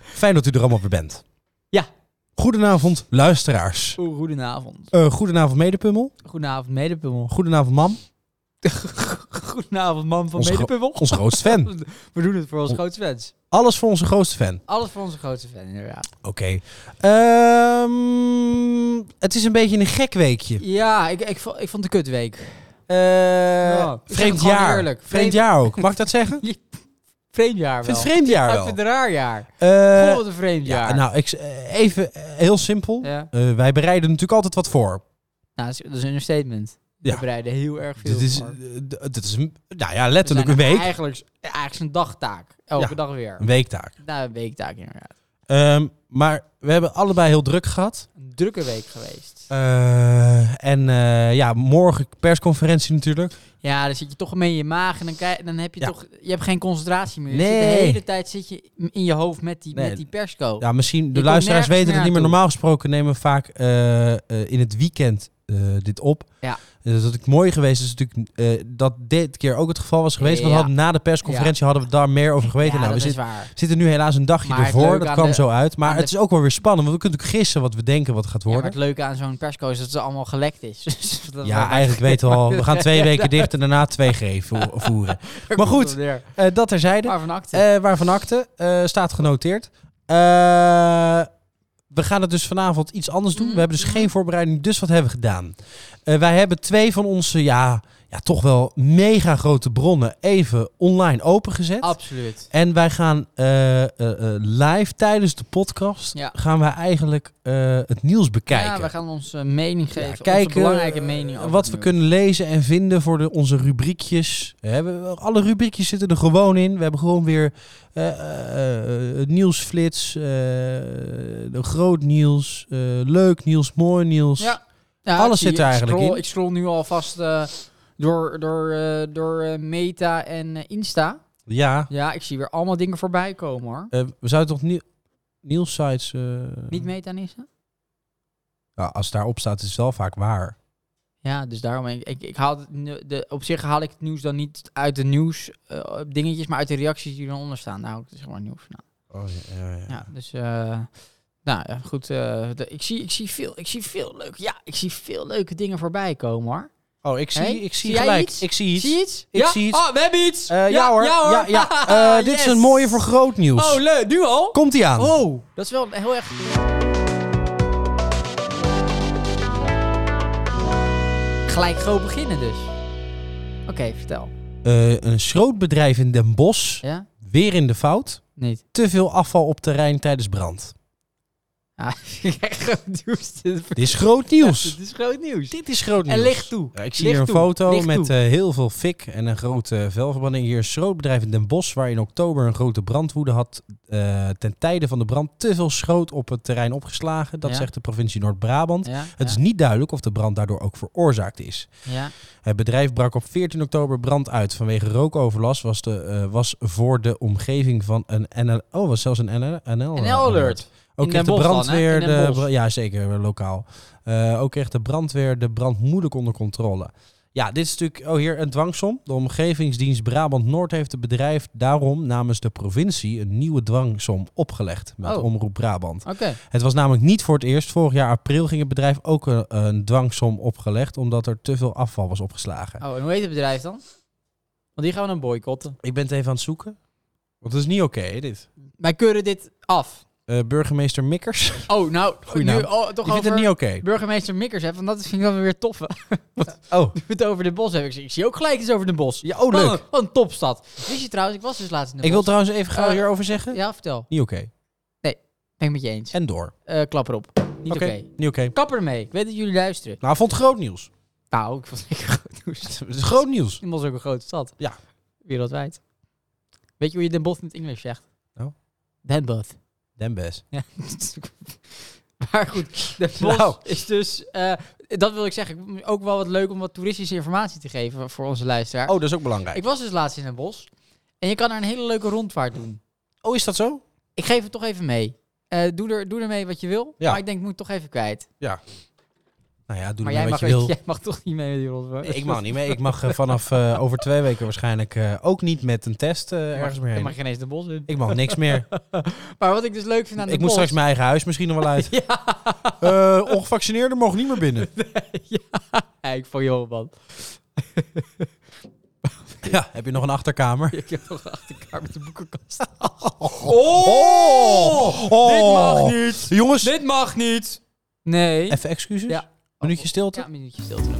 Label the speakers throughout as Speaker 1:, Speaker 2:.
Speaker 1: Fijn dat u er allemaal weer bent.
Speaker 2: Ja.
Speaker 1: Goedenavond, luisteraars.
Speaker 2: Oeh, goedenavond.
Speaker 1: Eh, goedenavond, medepummel.
Speaker 2: Goedenavond, medepummel.
Speaker 1: Goedenavond, mam.
Speaker 2: Goedenavond, man van
Speaker 1: Onze gro-
Speaker 2: medepummel.
Speaker 1: Onze grootste fan.
Speaker 2: We doen het voor onze
Speaker 1: On-
Speaker 2: grootste fans.
Speaker 1: Alles voor onze grootste fan.
Speaker 2: Alles voor onze grootste fan, inderdaad.
Speaker 1: Oké. Ehm, het is een beetje een gek weekje.
Speaker 2: Ja, ik, ik, vo- ik vond het een kutweek.
Speaker 1: Eh,
Speaker 2: Nou, ik zeg
Speaker 1: vreemd
Speaker 2: het gewoon
Speaker 1: jaar.
Speaker 2: eerlijk.
Speaker 1: Vreemd
Speaker 2: Vreemd-
Speaker 1: jaar ook. Mag ik dat zeggen? Ik
Speaker 2: Vreemd jaar wel.
Speaker 1: vind het vreemd jaar
Speaker 2: Ja, ik
Speaker 1: wel.
Speaker 2: vind het een raar jaar.
Speaker 1: Eh,
Speaker 2: Goh, wat een vreemd jaar.
Speaker 1: ja, nou, ik, s- eh, even eh, heel simpel.
Speaker 2: Ja.
Speaker 1: Eh, wij bereiden natuurlijk altijd wat voor.
Speaker 2: Nou, dat is, dat is een understatement.
Speaker 1: Ja.
Speaker 2: We bereiden heel erg veel
Speaker 1: Dit is,
Speaker 2: voor. We
Speaker 1: eh, d- dit is een, nou ja,
Speaker 2: zijn
Speaker 1: letterlijk een week.
Speaker 2: Eigenlijk, eigenlijk is een dagtaak. Elke
Speaker 1: Ja.
Speaker 2: dag weer.
Speaker 1: Een weektaak.
Speaker 2: Nou, een weektaak inderdaad.
Speaker 1: Ehm, maar we hebben allebei heel druk gehad.
Speaker 2: Een drukke week geweest.
Speaker 1: Eh, en eh, ja, morgen persconferentie natuurlijk.
Speaker 2: Ja, dan zit je toch mee in je maag en dan, krijg, dan heb je
Speaker 1: Ja.
Speaker 2: toch... Je hebt geen concentratie meer. Je
Speaker 1: Nee.
Speaker 2: zit de hele tijd zit je in je hoofd met die,
Speaker 1: Nee.
Speaker 2: met die persco.
Speaker 1: Ja, misschien de
Speaker 2: komt nergens
Speaker 1: luisteraars weten
Speaker 2: meer
Speaker 1: het niet meer.
Speaker 2: naartoe.
Speaker 1: Normaal gesproken nemen we vaak eh, eh, in het weekend eh, dit op.
Speaker 2: Ja.
Speaker 1: Dus dat ik mooi geweest is natuurlijk eh, dat dit keer ook het geval was geweest. Want we
Speaker 2: Ja.
Speaker 1: hadden na de persconferentie hadden we daar meer over geweten.
Speaker 2: Ja,
Speaker 1: nou, we
Speaker 2: dat is
Speaker 1: zitten,
Speaker 2: waar.
Speaker 1: zitten nu helaas een dagje
Speaker 2: Maar het
Speaker 1: ervoor.
Speaker 2: leuke
Speaker 1: Dat
Speaker 2: aan
Speaker 1: kwam
Speaker 2: de-
Speaker 1: zo uit. Maar
Speaker 2: aan
Speaker 1: het
Speaker 2: de-
Speaker 1: is ook wel weer spannend. Want we kunnen natuurlijk gissen wat we denken wat het gaat
Speaker 2: Ja, maar
Speaker 1: worden.
Speaker 2: het leuke aan zo'n persco is dat ze allemaal gelekt is. Dus dat-
Speaker 1: Ja,
Speaker 2: dat-
Speaker 1: eigenlijk weten we al. We gaan twee weken dicht en daarna 2G vo- voeren.
Speaker 2: daar
Speaker 1: maar
Speaker 2: komt
Speaker 1: goed.
Speaker 2: het op neer.
Speaker 1: Eh, dat terzijde.
Speaker 2: Maar van acte.
Speaker 1: Eh, waarvan akte eh, staat genoteerd. Eh, we gaan het dus vanavond iets anders
Speaker 2: Mhm,
Speaker 1: doen. We hebben dus geen voorbereiding. Dus wat hebben we gedaan? Eh, wij hebben twee van onze, ja, ja, toch wel mega grote bronnen even online opengezet.
Speaker 2: Absoluut.
Speaker 1: en wij gaan eh, eh, eh, live tijdens de podcast
Speaker 2: Ja.
Speaker 1: gaan wij eigenlijk eh, het nieuws bekijken.
Speaker 2: Ja, we gaan onze eh, mening geven. onze
Speaker 1: kijken,
Speaker 2: belangrijke
Speaker 1: eh,
Speaker 2: mening over
Speaker 1: wat
Speaker 2: het
Speaker 1: we
Speaker 2: nieuws.
Speaker 1: kunnen lezen en vinden voor de, onze rubriekjes. Eh, We hebben- alle rubriekjes zitten er gewoon in. We hebben gewoon weer eh, eh, eh, nieuwsflits, eh, de groot nieuws, eh, leuk nieuws, mooi nieuws.
Speaker 2: Ja. Ja,
Speaker 1: Alles
Speaker 2: ik zie-
Speaker 1: zit er
Speaker 2: ik
Speaker 1: eigenlijk
Speaker 2: scroll,
Speaker 1: in.
Speaker 2: Ik scroll nu alvast eh, door, door, eh, door eh, Meta en eh, Insta.
Speaker 1: Ja,
Speaker 2: Ja, ik zie weer allemaal dingen voorbij komen hoor.
Speaker 1: eh, we zouden toch nieuw, nieuwssites... eh,
Speaker 2: Niet Meta en Insta?
Speaker 1: nou, als het daarop staat is het wel vaak waar.
Speaker 2: Ja, dus daarom. Ik, ik, ik haal het nu- de, op zich haal ik het nieuws dan niet uit de nieuws eh, dingetjes, maar uit de reacties die eronder staan. Nou, het is gewoon nieuws. Nou,
Speaker 1: Oh, ja, ja, ja.
Speaker 2: ja, dus. eh, nou ja, goed. eh, de- ik, zie, ik, zie veel, ik zie veel leuke. Ja, ik zie veel leuke dingen voorbij komen hoor.
Speaker 1: Oh, ik zie,
Speaker 2: Hey,
Speaker 1: ik
Speaker 2: zie
Speaker 1: zie,
Speaker 2: jij
Speaker 1: gelijk.
Speaker 2: iets?
Speaker 1: Ik zie iets.
Speaker 2: Zie je iets?
Speaker 1: Ik
Speaker 2: ja?
Speaker 1: zie iets.
Speaker 2: Oh, we hebben iets.
Speaker 1: Eh, ja, hoor. Ja, ja. Eh, dit is
Speaker 2: Yes.
Speaker 1: een mooie voor groot nieuws.
Speaker 2: Oh, leuk. Nu al?
Speaker 1: Komt-ie aan.
Speaker 2: Oh, dat is wel heel erg. Gelijk groot beginnen dus. Oké, vertel.
Speaker 1: Eh, een schrootbedrijf in Den Bosch,
Speaker 2: Ja?
Speaker 1: weer in de fout.
Speaker 2: Niet.
Speaker 1: Te veel afval op terrein tijdens brand.
Speaker 2: Ah, vind ik echt groot nieuws. Dit
Speaker 1: Dit is groot nieuws.
Speaker 2: Het is groot nieuws.
Speaker 1: Dit is groot nieuws.
Speaker 2: En licht toe.
Speaker 1: Ja, ik zie
Speaker 2: Licht
Speaker 1: hier een
Speaker 2: toe.
Speaker 1: foto
Speaker 2: Licht
Speaker 1: met
Speaker 2: toe.
Speaker 1: eh, heel veel fik en een grote velverbranding. Hier een schrootbedrijf in Den Bosch, waar in oktober een grote brandwoede had. eh, ten tijde van de brand te veel schroot op het terrein opgeslagen. Dat
Speaker 2: Ja.
Speaker 1: zegt de provincie Noord-Brabant.
Speaker 2: Ja,
Speaker 1: eh, Het is niet duidelijk of de brand daardoor ook veroorzaakt is.
Speaker 2: ja, ja.
Speaker 1: Het bedrijf brak op 14 oktober brand uit. Vanwege rookoverlast was, de, eh, was voor de omgeving van een NL... Oh, was zelfs een NL... NL,
Speaker 2: Een L-alert.
Speaker 1: Ook
Speaker 2: In
Speaker 1: kreeg de
Speaker 2: Den Bosch dan, hè?
Speaker 1: brandweer...
Speaker 2: In Den
Speaker 1: de,
Speaker 2: Bosch.
Speaker 1: bra- ja, zeker, lokaal. Eh, ook kreeg de brandweer de brand moeilijk onder controle. Ja, dit is natuurlijk... Oh, hier een dwangsom. De omgevingsdienst Brabant-Noord heeft het bedrijf daarom namens de provincie... een nieuwe dwangsom opgelegd met
Speaker 2: Oh.
Speaker 1: Omroep Brabant.
Speaker 2: Oké.
Speaker 1: Het was namelijk niet voor het eerst. Vorig jaar april ging het bedrijf ook een, een dwangsom opgelegd... omdat er te veel afval was opgeslagen.
Speaker 2: Oh, en hoe heet het bedrijf dan? Want die gaan we dan boycotten.
Speaker 1: Ik ben het even aan het zoeken. Want het is niet oké, dit.
Speaker 2: Wij keuren dit af.
Speaker 1: Eh, burgemeester Mikkers.
Speaker 2: Oh, nou,
Speaker 1: Goeie
Speaker 2: nu
Speaker 1: naam.
Speaker 2: oh, toch
Speaker 1: ik vind
Speaker 2: over
Speaker 1: het niet oké.
Speaker 2: burgemeester Mikkers hebben, want dat vind ik dan weer tof.
Speaker 1: Oh.
Speaker 2: Nu we het over Den Bosch hebben. Ik zie, ik zie ook gelijk iets over Den Bosch.
Speaker 1: Ja, oh, leuk.
Speaker 2: Wat een, wat een topstad. Wist je trouwens, ik was dus laatst in Den
Speaker 1: Ik wil
Speaker 2: Bosch.
Speaker 1: trouwens even gauw
Speaker 2: Eh,
Speaker 1: hierover zeggen.
Speaker 2: Ja, vertel.
Speaker 1: Niet oké.
Speaker 2: Ben ik met je eens.
Speaker 1: En door.
Speaker 2: Eh, klap erop. Niet oké.
Speaker 1: Niet oké.
Speaker 2: Kap ermee. Ik weet dat jullie luisteren.
Speaker 1: Nou, ik vond het groot nieuws.
Speaker 2: Nou, ik vond het echt groot nieuws.
Speaker 1: Het is groot nieuws.
Speaker 2: Den Bosch is ook een grote stad.
Speaker 1: Ja.
Speaker 2: Wereldwijd. Weet je hoe je Den Bosch in het Engels zegt?
Speaker 1: Nou?
Speaker 2: Den Bosch.
Speaker 1: Den best.
Speaker 2: Ja. maar goed, Den Bosch
Speaker 1: Nou.
Speaker 2: is dus... eh, dat wil ik zeggen. Ook wel wat leuk om wat toeristische informatie te geven voor onze luisteraar.
Speaker 1: Oh, dat is ook belangrijk.
Speaker 2: Ik was dus laatst in Den Bosch. En je kan daar een hele leuke rondvaart doen.
Speaker 1: Oh, is dat zo?
Speaker 2: Ik geef het toch even mee. Eh, doe, er, doe ermee wat je wil.
Speaker 1: Ja.
Speaker 2: Maar ik denk, ik moet het toch even kwijt.
Speaker 1: Ja. Nou ja, doe
Speaker 2: maar jij
Speaker 1: ermee
Speaker 2: mag,
Speaker 1: wat je wil.
Speaker 2: jij mag toch niet mee met die rotzooi?
Speaker 1: Nee, ik mag niet mee. Ik mag eh, vanaf eh, over twee weken waarschijnlijk eh, ook niet met een test eh,
Speaker 2: Je
Speaker 1: ergens
Speaker 2: mag,
Speaker 1: meer
Speaker 2: je
Speaker 1: heen.
Speaker 2: mag geen eens de bos in.
Speaker 1: Ik mag niks meer.
Speaker 2: Maar wat ik dus leuk vind aan de
Speaker 1: ik moet
Speaker 2: bos...
Speaker 1: straks mijn eigen huis misschien nog wel uit.
Speaker 2: Ja,
Speaker 1: Eh ongevaccineerden mogen niet meer binnen.
Speaker 2: Ja, ik vond joh man.
Speaker 1: Ja, heb je nog een achterkamer?
Speaker 2: Ik heb nog een achterkamer met de boekenkast.
Speaker 1: Oh!
Speaker 2: Dit mag niet!
Speaker 1: Jongens,
Speaker 2: Dit mag niet! Nee.
Speaker 1: even excuses.
Speaker 2: Ja.
Speaker 1: Minuutje stilte.
Speaker 2: Ja, een minuutje stilte.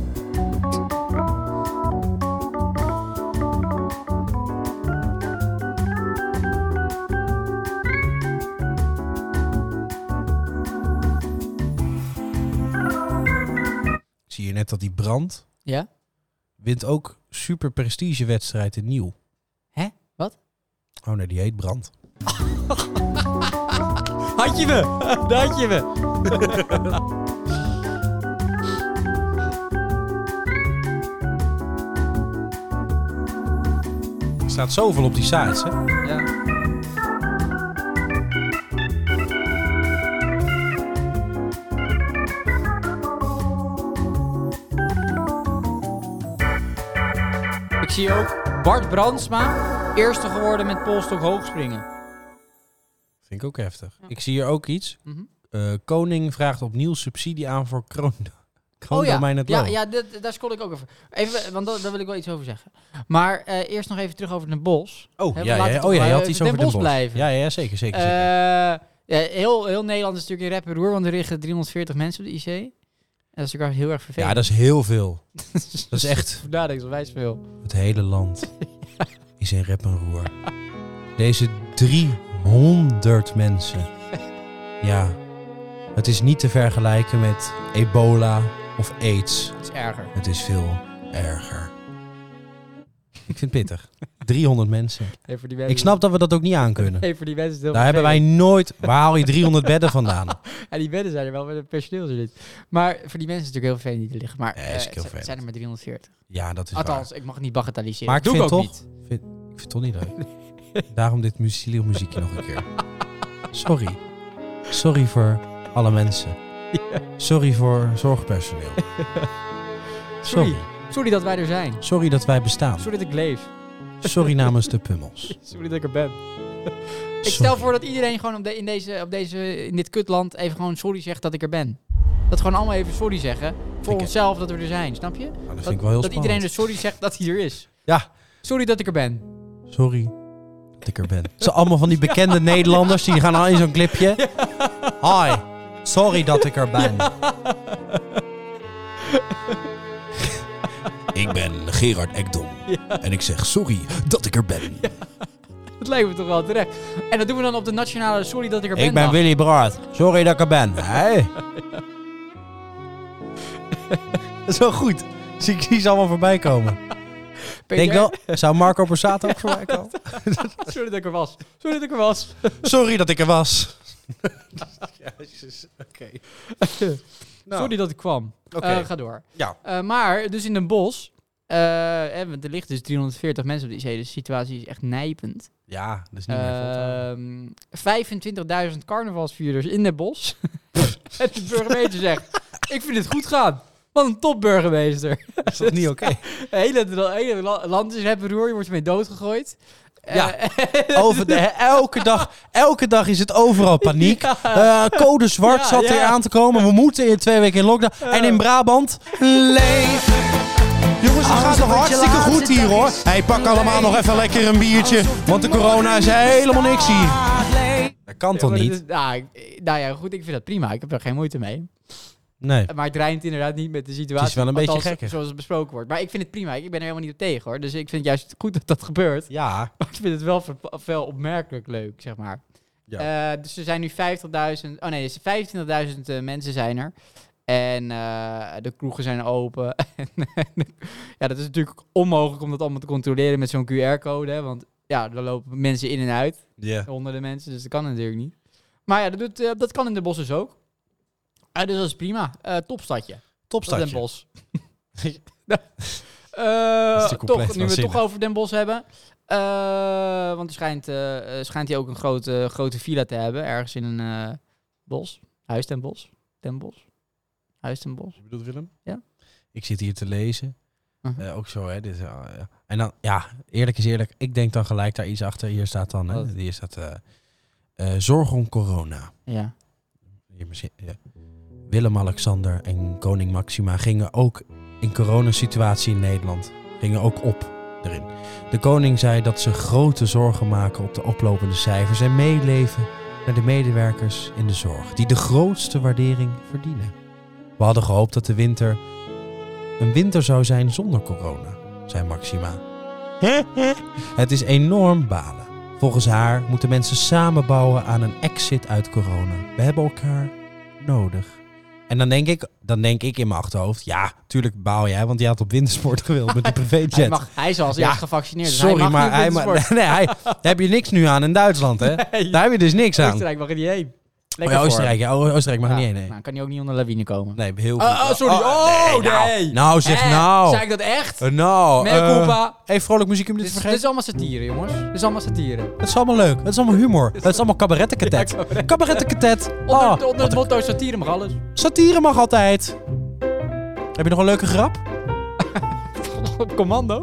Speaker 1: Ik zie hier net dat die brand
Speaker 2: Ja?
Speaker 1: wint ook super prestigewedstrijd in Nieuw.
Speaker 2: Hè? Wat?
Speaker 1: Oh nee, die heet Brand.
Speaker 2: Had je me! Daar had je me!
Speaker 1: Er staat zoveel op die sites, hè?
Speaker 2: Ja. Ik zie ook Bart Brandsma, eerste geworden met polstok hoogspringen.
Speaker 1: Vind ik ook heftig. Ik zie hier ook iets.
Speaker 2: Mhm.
Speaker 1: Eh, Koning vraagt opnieuw subsidie aan voor kroon.
Speaker 2: Oh ja,
Speaker 1: kroondomein het
Speaker 2: ja,
Speaker 1: loon.
Speaker 2: ja dit- daar scroll ik ook over. Even, want dat- daar wil ik wel iets over zeggen. Maar eh, eerst nog even terug over Den Bos.
Speaker 1: Oh,
Speaker 2: Hè,
Speaker 1: ja,
Speaker 2: we
Speaker 1: ja,
Speaker 2: laten
Speaker 1: ja.
Speaker 2: toch
Speaker 1: oh ja, je
Speaker 2: maar
Speaker 1: had
Speaker 2: even
Speaker 1: iets
Speaker 2: Den
Speaker 1: over Den
Speaker 2: Bos
Speaker 1: Bos.
Speaker 2: blijven.
Speaker 1: Ja, ja, zeker, zeker.
Speaker 2: Eh,
Speaker 1: zeker.
Speaker 2: ja, heel, heel Nederland is natuurlijk in rep en roer, want er liggen 340 mensen op de IC. En dat is natuurlijk wel heel erg
Speaker 1: ja,
Speaker 2: vervelend.
Speaker 1: dat is heel veel.
Speaker 2: dat,
Speaker 1: Dat is echt
Speaker 2: Daar denk ik zo wijs veel.
Speaker 1: het hele land. Is in rep en roer. Deze 300 mensen. Ja, het is niet te vergelijken met ebola of aids.
Speaker 2: Dat is erger.
Speaker 1: Het is veel erger. Ik vind het pittig. 300 mensen.
Speaker 2: Hey, voor die
Speaker 1: Ik
Speaker 2: mensen-
Speaker 1: snap dat we dat ook niet aankunnen.
Speaker 2: Hey, voor die mensen is het heel
Speaker 1: Daar hebben wij
Speaker 2: vervelend.
Speaker 1: nooit... Waar haal je 300 bedden vandaan?
Speaker 2: En die bedden zijn er wel, maar het personeel is er niet. Maar voor die mensen is het natuurlijk heel vervelend die er liggen. Maar
Speaker 1: Nee,
Speaker 2: eh,
Speaker 1: is ook heel
Speaker 2: het zijn- het
Speaker 1: vervelend.
Speaker 2: zijn er maar 340.
Speaker 1: Ja, dat is waar.
Speaker 2: Althans, ik mag het niet bagatelliseren.
Speaker 1: Maar ik
Speaker 2: Doe
Speaker 1: vind
Speaker 2: ook
Speaker 1: toch-
Speaker 2: niet.
Speaker 1: Ik vind het toch niet leuk. Daarom dit musieliel muziekje nog een keer. Sorry. Sorry voor alle mensen. Sorry voor zorgpersoneel. Sorry.
Speaker 2: Sorry dat wij er zijn.
Speaker 1: Sorry dat wij bestaan.
Speaker 2: Sorry dat ik leef.
Speaker 1: Sorry namens de pummels.
Speaker 2: Sorry dat ik er ben. Ik stel
Speaker 1: Sorry.
Speaker 2: voor dat iedereen gewoon op de, in, deze, op deze, in dit kutland even gewoon sorry zegt dat ik er ben. Dat gewoon allemaal even sorry zeggen voor
Speaker 1: Oké.
Speaker 2: onszelf dat we er zijn, snap je?
Speaker 1: Nou, dat
Speaker 2: dat
Speaker 1: vind ik wel heel
Speaker 2: dat
Speaker 1: spannend.
Speaker 2: iedereen dus sorry zegt dat hij er is.
Speaker 1: Ja.
Speaker 2: Sorry dat ik er ben.
Speaker 1: Sorry dat ik er ben. Het zijn allemaal van die bekende Nederlanders. Die gaan al in zo'n clipje. Hi. Sorry dat ik er ben. Ik ben Gerard Ekdom. En ik zeg sorry dat ik er ben.
Speaker 2: Dat lijkt me toch wel terecht. En dat doen we dan op de nationale sorry dat ik er ben.
Speaker 1: Ik ben
Speaker 2: dag.
Speaker 1: Willy Braat. Sorry dat ik er ben. Hey. Dat is wel goed. Zie ik zie ze allemaal voorbij komen.
Speaker 2: Peter,
Speaker 1: Denk wel, zou Marco Borsato ook voorbij komen?
Speaker 2: Sorry dat ik er was. Sorry dat ik er was.
Speaker 1: Sorry dat ik er was. Oké.
Speaker 2: Sorry dat ik kwam.
Speaker 1: Oké.
Speaker 2: Eh, ga door.
Speaker 1: Ja.
Speaker 2: Eh, maar, dus in een bos. eh, eh, want er ligt dus 340 mensen op de IC, dus de situatie is echt nijpend.
Speaker 1: Ja, dat is niet meer vol te houden.
Speaker 2: Ehm 25.000 carnavalsvierders in Den Bosch. en de burgemeester zegt, ik vind het goed gaan. Wat een topburgemeester.
Speaker 1: Dat is toch niet oké?
Speaker 2: Het hele, hele la- land is hebben roer, je wordt ermee doodgegooid.
Speaker 1: Ja.
Speaker 2: Eh,
Speaker 1: Over de, elke, dag, elke dag is het overal paniek.
Speaker 2: ja.
Speaker 1: Eh, code zwart
Speaker 2: Ja,
Speaker 1: zat
Speaker 2: ja.
Speaker 1: er aan te komen. We moeten in twee weken in lockdown. En in Brabant leven. Jongens, het gaat toch hartstikke goed hier hoor. Hey, pak allemaal nog even lekker een biertje. Want de corona is helemaal niks hier. Dat kan toch
Speaker 2: maar dit
Speaker 1: niet?
Speaker 2: is- nou, ik- nou ja, goed, ik vind dat prima. Ik heb er geen moeite mee.
Speaker 1: Nee.
Speaker 2: Maar het rijmt inderdaad niet met de situatie.
Speaker 1: Het is wel een beetje
Speaker 2: Althans,
Speaker 1: gekker.
Speaker 2: Zoals het besproken wordt. Maar ik vind het prima. Ik ben er helemaal niet op tegen hoor. Dus ik vind het juist goed dat dat gebeurt.
Speaker 1: Ja.
Speaker 2: Maar ik vind het wel, ver- wel opmerkelijk leuk, zeg maar. Eh, dus er zijn nu 50.000... Oh nee, dus 25.000 eh, mensen zijn er. En eh, de kroegen zijn open. En, eh, ja, dat is natuurlijk onmogelijk om dat allemaal te controleren met zo'n QR-code. hè, Want ja, er lopen mensen in en uit.
Speaker 1: Ja.
Speaker 2: Honderden mensen, dus dat kan natuurlijk niet. Maar ja, dat, doet, eh, dat kan in de bos dus ook. Ah, dus dat is prima. Eh, topstadje. Dat Den
Speaker 1: Topstadje.
Speaker 2: Bos. Nou, eh,
Speaker 1: Dat is natuurlijk compleet
Speaker 2: toch, nu we het
Speaker 1: waanzinnig.
Speaker 2: toch over Den Bos hebben. Eh, want er schijnt, eh, eh, schijnt hij ook een grote, grote villa te hebben. Ergens in een eh, bos. Huis Den Bos. Den Bos. Huis ten Bos.
Speaker 1: Je bedoelt Willem?
Speaker 2: Ja.
Speaker 1: Ik zit hier te lezen.
Speaker 2: Mhm.
Speaker 1: Eh, ook zo, hè. Dit, is, ah, ja. En dan, ja, eerlijk is eerlijk. Ik denk dan gelijk daar iets achter. Hier staat dan, hè.
Speaker 2: Wat?
Speaker 1: Hier staat eh, eh, zorg om corona.
Speaker 2: Ja.
Speaker 1: Hier misschien- ja. Willem-Alexander en koning Maxima gingen ook in coronasituatie in Nederland. Gingen ook op erin. De koning zei dat ze grote zorgen maken op de oplopende cijfers en meeleven naar de medewerkers in de zorg, die de grootste waardering verdienen. We hadden gehoopt dat de winter een winter zou zijn zonder corona, zei Maxima. Het is enorm balen. Volgens haar moeten mensen samenbouwen aan een exit uit corona. We hebben elkaar nodig. En dan denk ik, dan denk ik in mijn achterhoofd, ja, tuurlijk baal jij, want je had op wintersport gewild met die
Speaker 2: Hij,
Speaker 1: privéjet.
Speaker 2: mag, hij is al als
Speaker 1: Ja,
Speaker 2: eerst gevaccineerd. dus
Speaker 1: Sorry,
Speaker 2: hij mag
Speaker 1: maar,
Speaker 2: niet
Speaker 1: hij,
Speaker 2: op de
Speaker 1: ma-
Speaker 2: sport.
Speaker 1: nee, hij, daar heb je niks nu aan in Duitsland, hè?
Speaker 2: Nee,
Speaker 1: Daar heb je dus niks aan.
Speaker 2: Oostenrijk mag er niet heen.
Speaker 1: Oh,
Speaker 2: Lekker
Speaker 1: ja,
Speaker 2: voor
Speaker 1: Oostenrijk, ja, O-
Speaker 2: hem.
Speaker 1: Oostenrijk mag
Speaker 2: Ja,
Speaker 1: niet heen, nee.
Speaker 2: Nou, kan hij ook niet onder lawine komen.
Speaker 1: Nee, heel
Speaker 2: Oh,
Speaker 1: goed.
Speaker 2: oh, sorry. Oh, nee. Eh,
Speaker 1: Nou, nou, zeg
Speaker 2: Hè?
Speaker 1: nou.
Speaker 2: Zei ik dat echt?
Speaker 1: Eh, Nou,
Speaker 2: Mea
Speaker 1: eh,
Speaker 2: culpa.
Speaker 1: hey, vrolijk muziek, om dit
Speaker 2: Dit
Speaker 1: te
Speaker 2: is, dit
Speaker 1: vergeten.
Speaker 2: is allemaal satire, jongens. Dit is allemaal satire.
Speaker 1: Het is allemaal leuk. Het is allemaal humor. Het is allemaal cabarettenkatet.
Speaker 2: Ja, cabaret.
Speaker 1: Cabarettenkatet.
Speaker 2: Onder,
Speaker 1: Oh,
Speaker 2: onder
Speaker 1: wat
Speaker 2: het
Speaker 1: een-
Speaker 2: motto satire mag alles.
Speaker 1: satire mag altijd. Heb je nog een leuke grap?
Speaker 2: Op commando.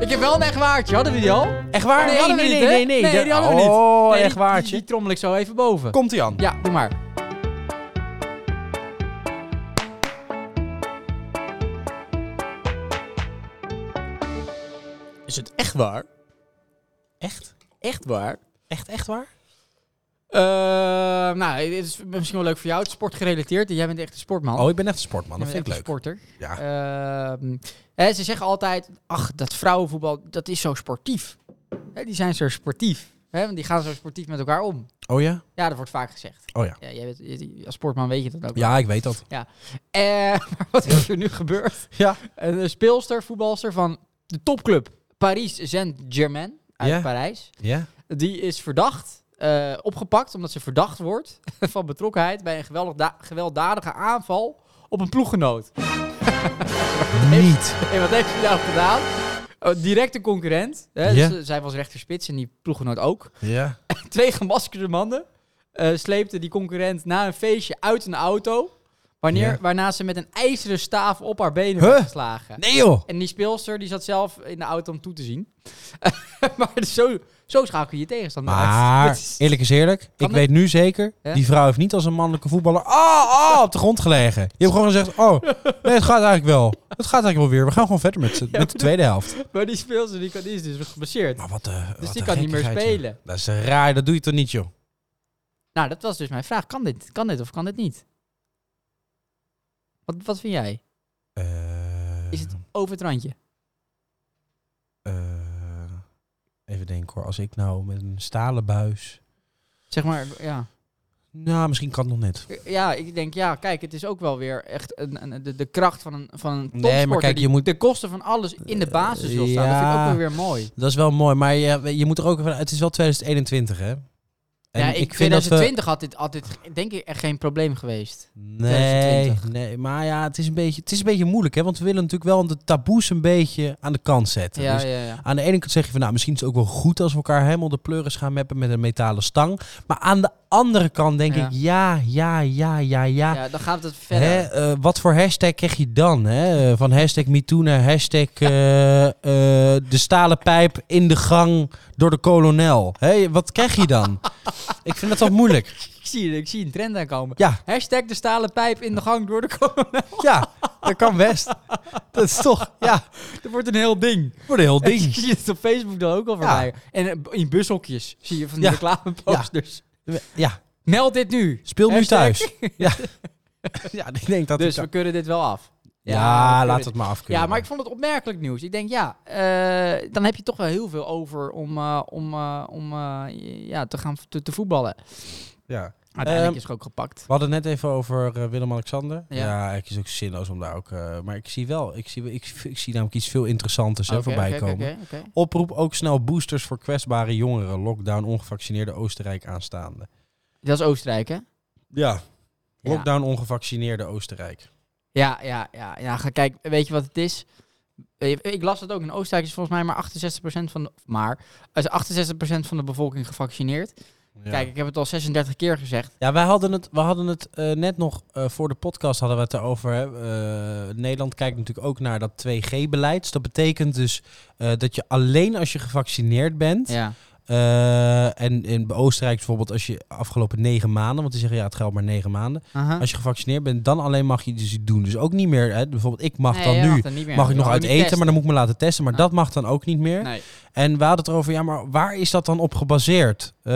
Speaker 2: ik heb wel een echt waardje. Hadden we die al?
Speaker 1: Echt waar?
Speaker 2: Nee, hadden we niet, hè? Nee, die hadden we niet.
Speaker 1: Oh,
Speaker 2: Nee, die-
Speaker 1: echt
Speaker 2: Die,
Speaker 1: waardje.
Speaker 2: die trommel ik zo even boven.
Speaker 1: Komt-ie aan.
Speaker 2: Ja, doe maar.
Speaker 1: Is het echt waar? Echt?
Speaker 2: Echt waar?
Speaker 1: Echt, echt waar?
Speaker 2: Eh, nou, dit is misschien wel leuk voor jou. Het is sportgerelateerd. Jij bent echt een sportman.
Speaker 1: Oh, ik ben echt een sportman.
Speaker 2: Jij
Speaker 1: Dat
Speaker 2: bent
Speaker 1: vind ik
Speaker 2: echt
Speaker 1: leuk.
Speaker 2: een sporter.
Speaker 1: Ja.
Speaker 2: Ehm, hè, ze zeggen altijd, ach, dat vrouwenvoetbal, dat is zo sportief. Hè, die zijn zo sportief. Hè, want die gaan zo sportief met elkaar om.
Speaker 1: Oh ja?
Speaker 2: Ja, dat wordt vaak gezegd.
Speaker 1: Oh ja.
Speaker 2: Ja, jij bent- je- als sportman weet je dat ook.
Speaker 1: Ja, ik weet dat.
Speaker 2: Eh, maar wat is er nu gebeurd?
Speaker 1: Ja.
Speaker 2: Een eh, speelster, voetbalster van de topclub Paris Saint-Germain uit
Speaker 1: Ja.
Speaker 2: Parijs.
Speaker 1: Ja?
Speaker 2: Die is verdacht, eh, opgepakt omdat ze verdacht wordt van betrokkenheid bij een geweldig- gewelddadige aanval op een ploeggenoot.
Speaker 1: Niet.
Speaker 2: En wat heeft ze nou gedaan? Eh, directe concurrent. Hè?
Speaker 1: Ja.
Speaker 2: Dus, eh, zij was rechterspits en die ploeggenoot ook.
Speaker 1: Ja.
Speaker 2: Twee gemaskerde mannen eh sleepten die concurrent na een feestje uit een auto. Wanneer,
Speaker 1: Ja.
Speaker 2: Waarna ze met een ijzeren staaf op haar benen
Speaker 1: Huh?
Speaker 2: werd geslagen.
Speaker 1: Nee joh.
Speaker 2: En die speelster die zat zelf in de auto om toe te zien. maar zo, zo schakel je je tegenstander uit.
Speaker 1: Maar
Speaker 2: Dat is-
Speaker 1: eerlijk is eerlijk, ik
Speaker 2: dat?
Speaker 1: weet nu zeker,
Speaker 2: Ja?
Speaker 1: die vrouw heeft niet als een mannelijke voetballer ah, ah, op de grond gelegen. Je hebt gewoon gezegd, oh, nee, het gaat eigenlijk wel. Het gaat eigenlijk wel weer. We gaan gewoon verder met, z'n- met de tweede helft.
Speaker 2: Maar die speelster die, kan, die is dus geblesseerd.
Speaker 1: Maar wat eh,
Speaker 2: Dus
Speaker 1: wat
Speaker 2: die
Speaker 1: een
Speaker 2: kan niet meer
Speaker 1: gekkigheid, joh.
Speaker 2: spelen.
Speaker 1: Dat is raar, dat doe je toch niet, joh.
Speaker 2: Nou, dat was dus mijn vraag. Kan dit, kan dit of kan dit niet? Wat, wat vind jij?
Speaker 1: Eh,
Speaker 2: Is het over het randje?
Speaker 1: eh, even denken hoor, als ik nou met een stalen buis...
Speaker 2: Zeg maar, ja.
Speaker 1: Nou, misschien kan het nog net.
Speaker 2: Ja, ik denk, ja, kijk, het is ook wel weer echt een, een- de, de kracht van een, van een
Speaker 1: Nee,
Speaker 2: topsporter
Speaker 1: maar kijk,
Speaker 2: die
Speaker 1: je moet-
Speaker 2: de kosten van alles in de basis wil staan. Dat vind ik
Speaker 1: ja.
Speaker 2: ook wel weer mooi.
Speaker 1: Dat is wel mooi, maar je, je moet er ook even... Het is wel 2021, hè? En
Speaker 2: ja, ik,
Speaker 1: vind dat eh, we-
Speaker 2: 2020 had, dit, had dit denk ik echt geen probleem geweest.
Speaker 1: Nee, nee, maar ja, het is, een beetje, het is een beetje moeilijk, hè? Want we willen natuurlijk wel de taboes een beetje aan de kant zetten.
Speaker 2: Ja,
Speaker 1: Dus
Speaker 2: ja, ja.
Speaker 1: aan de ene kant zeg je van, nou, misschien is het ook wel goed als we elkaar helemaal de pleuris gaan meppen met een metalen stang. Maar aan de andere kant denk
Speaker 2: Ja.
Speaker 1: ik, ja, ja, ja, ja, ja.
Speaker 2: Ja, dan gaat het verder.
Speaker 1: Ah. Hè, eh, wat voor hashtag krijg je dan? Hè? Eh, Van hashtag MeToo naar hashtag eh, eh, de stalen pijp in de gang door de kolonel. Hè, wat krijg je dan? ik vind dat toch moeilijk.
Speaker 2: Ik, zie, ik zie een trend aankomen.
Speaker 1: Ja,
Speaker 2: Hashtag de stalen pijp in de gang door de corona.
Speaker 1: ja, dat kan best. Dat is toch, ja.
Speaker 2: Dat wordt een heel ding.
Speaker 1: Voor de heel
Speaker 2: Ik
Speaker 1: ding.
Speaker 2: zie het op Facebook dan ook al voorbij. En eh, in bushokjes zie je van die
Speaker 1: Ja.
Speaker 2: reclameposters.
Speaker 1: Ja,
Speaker 2: Meld dit nu.
Speaker 1: speel nu
Speaker 2: Hashtag.
Speaker 1: thuis. Ja. ja, ik denk dat
Speaker 2: Dus
Speaker 1: ik-
Speaker 2: we kunnen dit wel af.
Speaker 1: Ja,
Speaker 2: we kunnen
Speaker 1: laat
Speaker 2: dit-
Speaker 1: het maar afkunnen.
Speaker 2: Ja, maar ik vond het opmerkelijk nieuws. Ik denk, ja, eh, dan heb je toch wel heel veel over om, eh, om, eh, om eh, ja, te gaan v- te, te voetballen.
Speaker 1: Ja.
Speaker 2: Uiteindelijk
Speaker 1: Ehm,
Speaker 2: is het ook gepakt.
Speaker 1: We hadden het net even over eh, Willem-Alexander.
Speaker 2: Ja.
Speaker 1: Ja. ik is ook zinloos om daar ook... eh, maar ik zie wel, ik zie, ik, ik zie namelijk iets veel interessanters hè,
Speaker 2: Oké,
Speaker 1: voorbij
Speaker 2: oké, oké,
Speaker 1: komen.
Speaker 2: oké, oké.
Speaker 1: Oproep ook snel boosters voor kwetsbare jongeren. Lockdown ongevaccineerde Oostenrijk aanstaande.
Speaker 2: Dat is Oostenrijk, hè?
Speaker 1: Ja,
Speaker 2: Ja.
Speaker 1: lockdown ongevaccineerde Oostenrijk.
Speaker 2: Ja, ja, ja. ja ga, kijk, weet je wat het is? Eh, Ik las dat ook. In Oostenrijk is volgens mij maar 68% van de, maar, is 68% van de bevolking gevaccineerd.
Speaker 3: Ja.
Speaker 2: Kijk, ik heb het al 36 keer gezegd.
Speaker 1: Ja, wij hadden het, we hadden het eh, net nog eh, voor de podcast hadden we het erover. Hè. Eh, Nederland kijkt natuurlijk ook naar dat 2G-beleid. Dat betekent dus eh, dat je alleen als je gevaccineerd bent.
Speaker 2: Ja.
Speaker 1: eh, en in Oostenrijk bijvoorbeeld als je afgelopen negen maanden, want die zeggen ja, het geldt maar negen maanden.
Speaker 2: Aha.
Speaker 1: Als je gevaccineerd bent, dan alleen mag je dus iets doen. Dus ook niet meer, hè, bijvoorbeeld ik mag
Speaker 2: Nee,
Speaker 1: dan
Speaker 2: je
Speaker 1: nu, mag,
Speaker 2: dan niet meer.
Speaker 1: ik
Speaker 2: Je
Speaker 1: nog
Speaker 2: mag
Speaker 1: uit
Speaker 2: niet
Speaker 1: eten,
Speaker 2: testen.
Speaker 1: maar dan moet ik me laten testen. Maar
Speaker 2: Ah.
Speaker 1: dat mag dan ook niet meer.
Speaker 2: Nee.
Speaker 1: En we hadden het erover, ja, maar waar is dat dan op gebaseerd? Eh,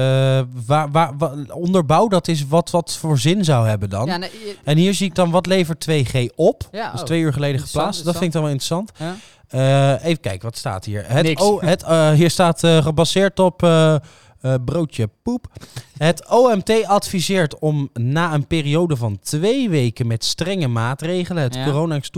Speaker 1: waar, waar, wa- onderbouw dat is wat wat voor zin zou hebben dan.
Speaker 2: Ja, nee, je-
Speaker 1: En hier zie ik dan, wat levert 2G op?
Speaker 2: ja,
Speaker 1: Dat is
Speaker 2: oh.
Speaker 1: twee uur geleden
Speaker 2: Interessant,
Speaker 1: geplaatst. Dat vind ik dan wel interessant.
Speaker 2: Ja.
Speaker 1: Eh, even kijken, wat staat hier? Het
Speaker 2: Niks.
Speaker 1: o, het, eh, hier staat eh, gebaseerd op eh, eh, broodje poep. Het OMT adviseert om na een periode van twee weken met strenge maatregelen... het
Speaker 2: Ja.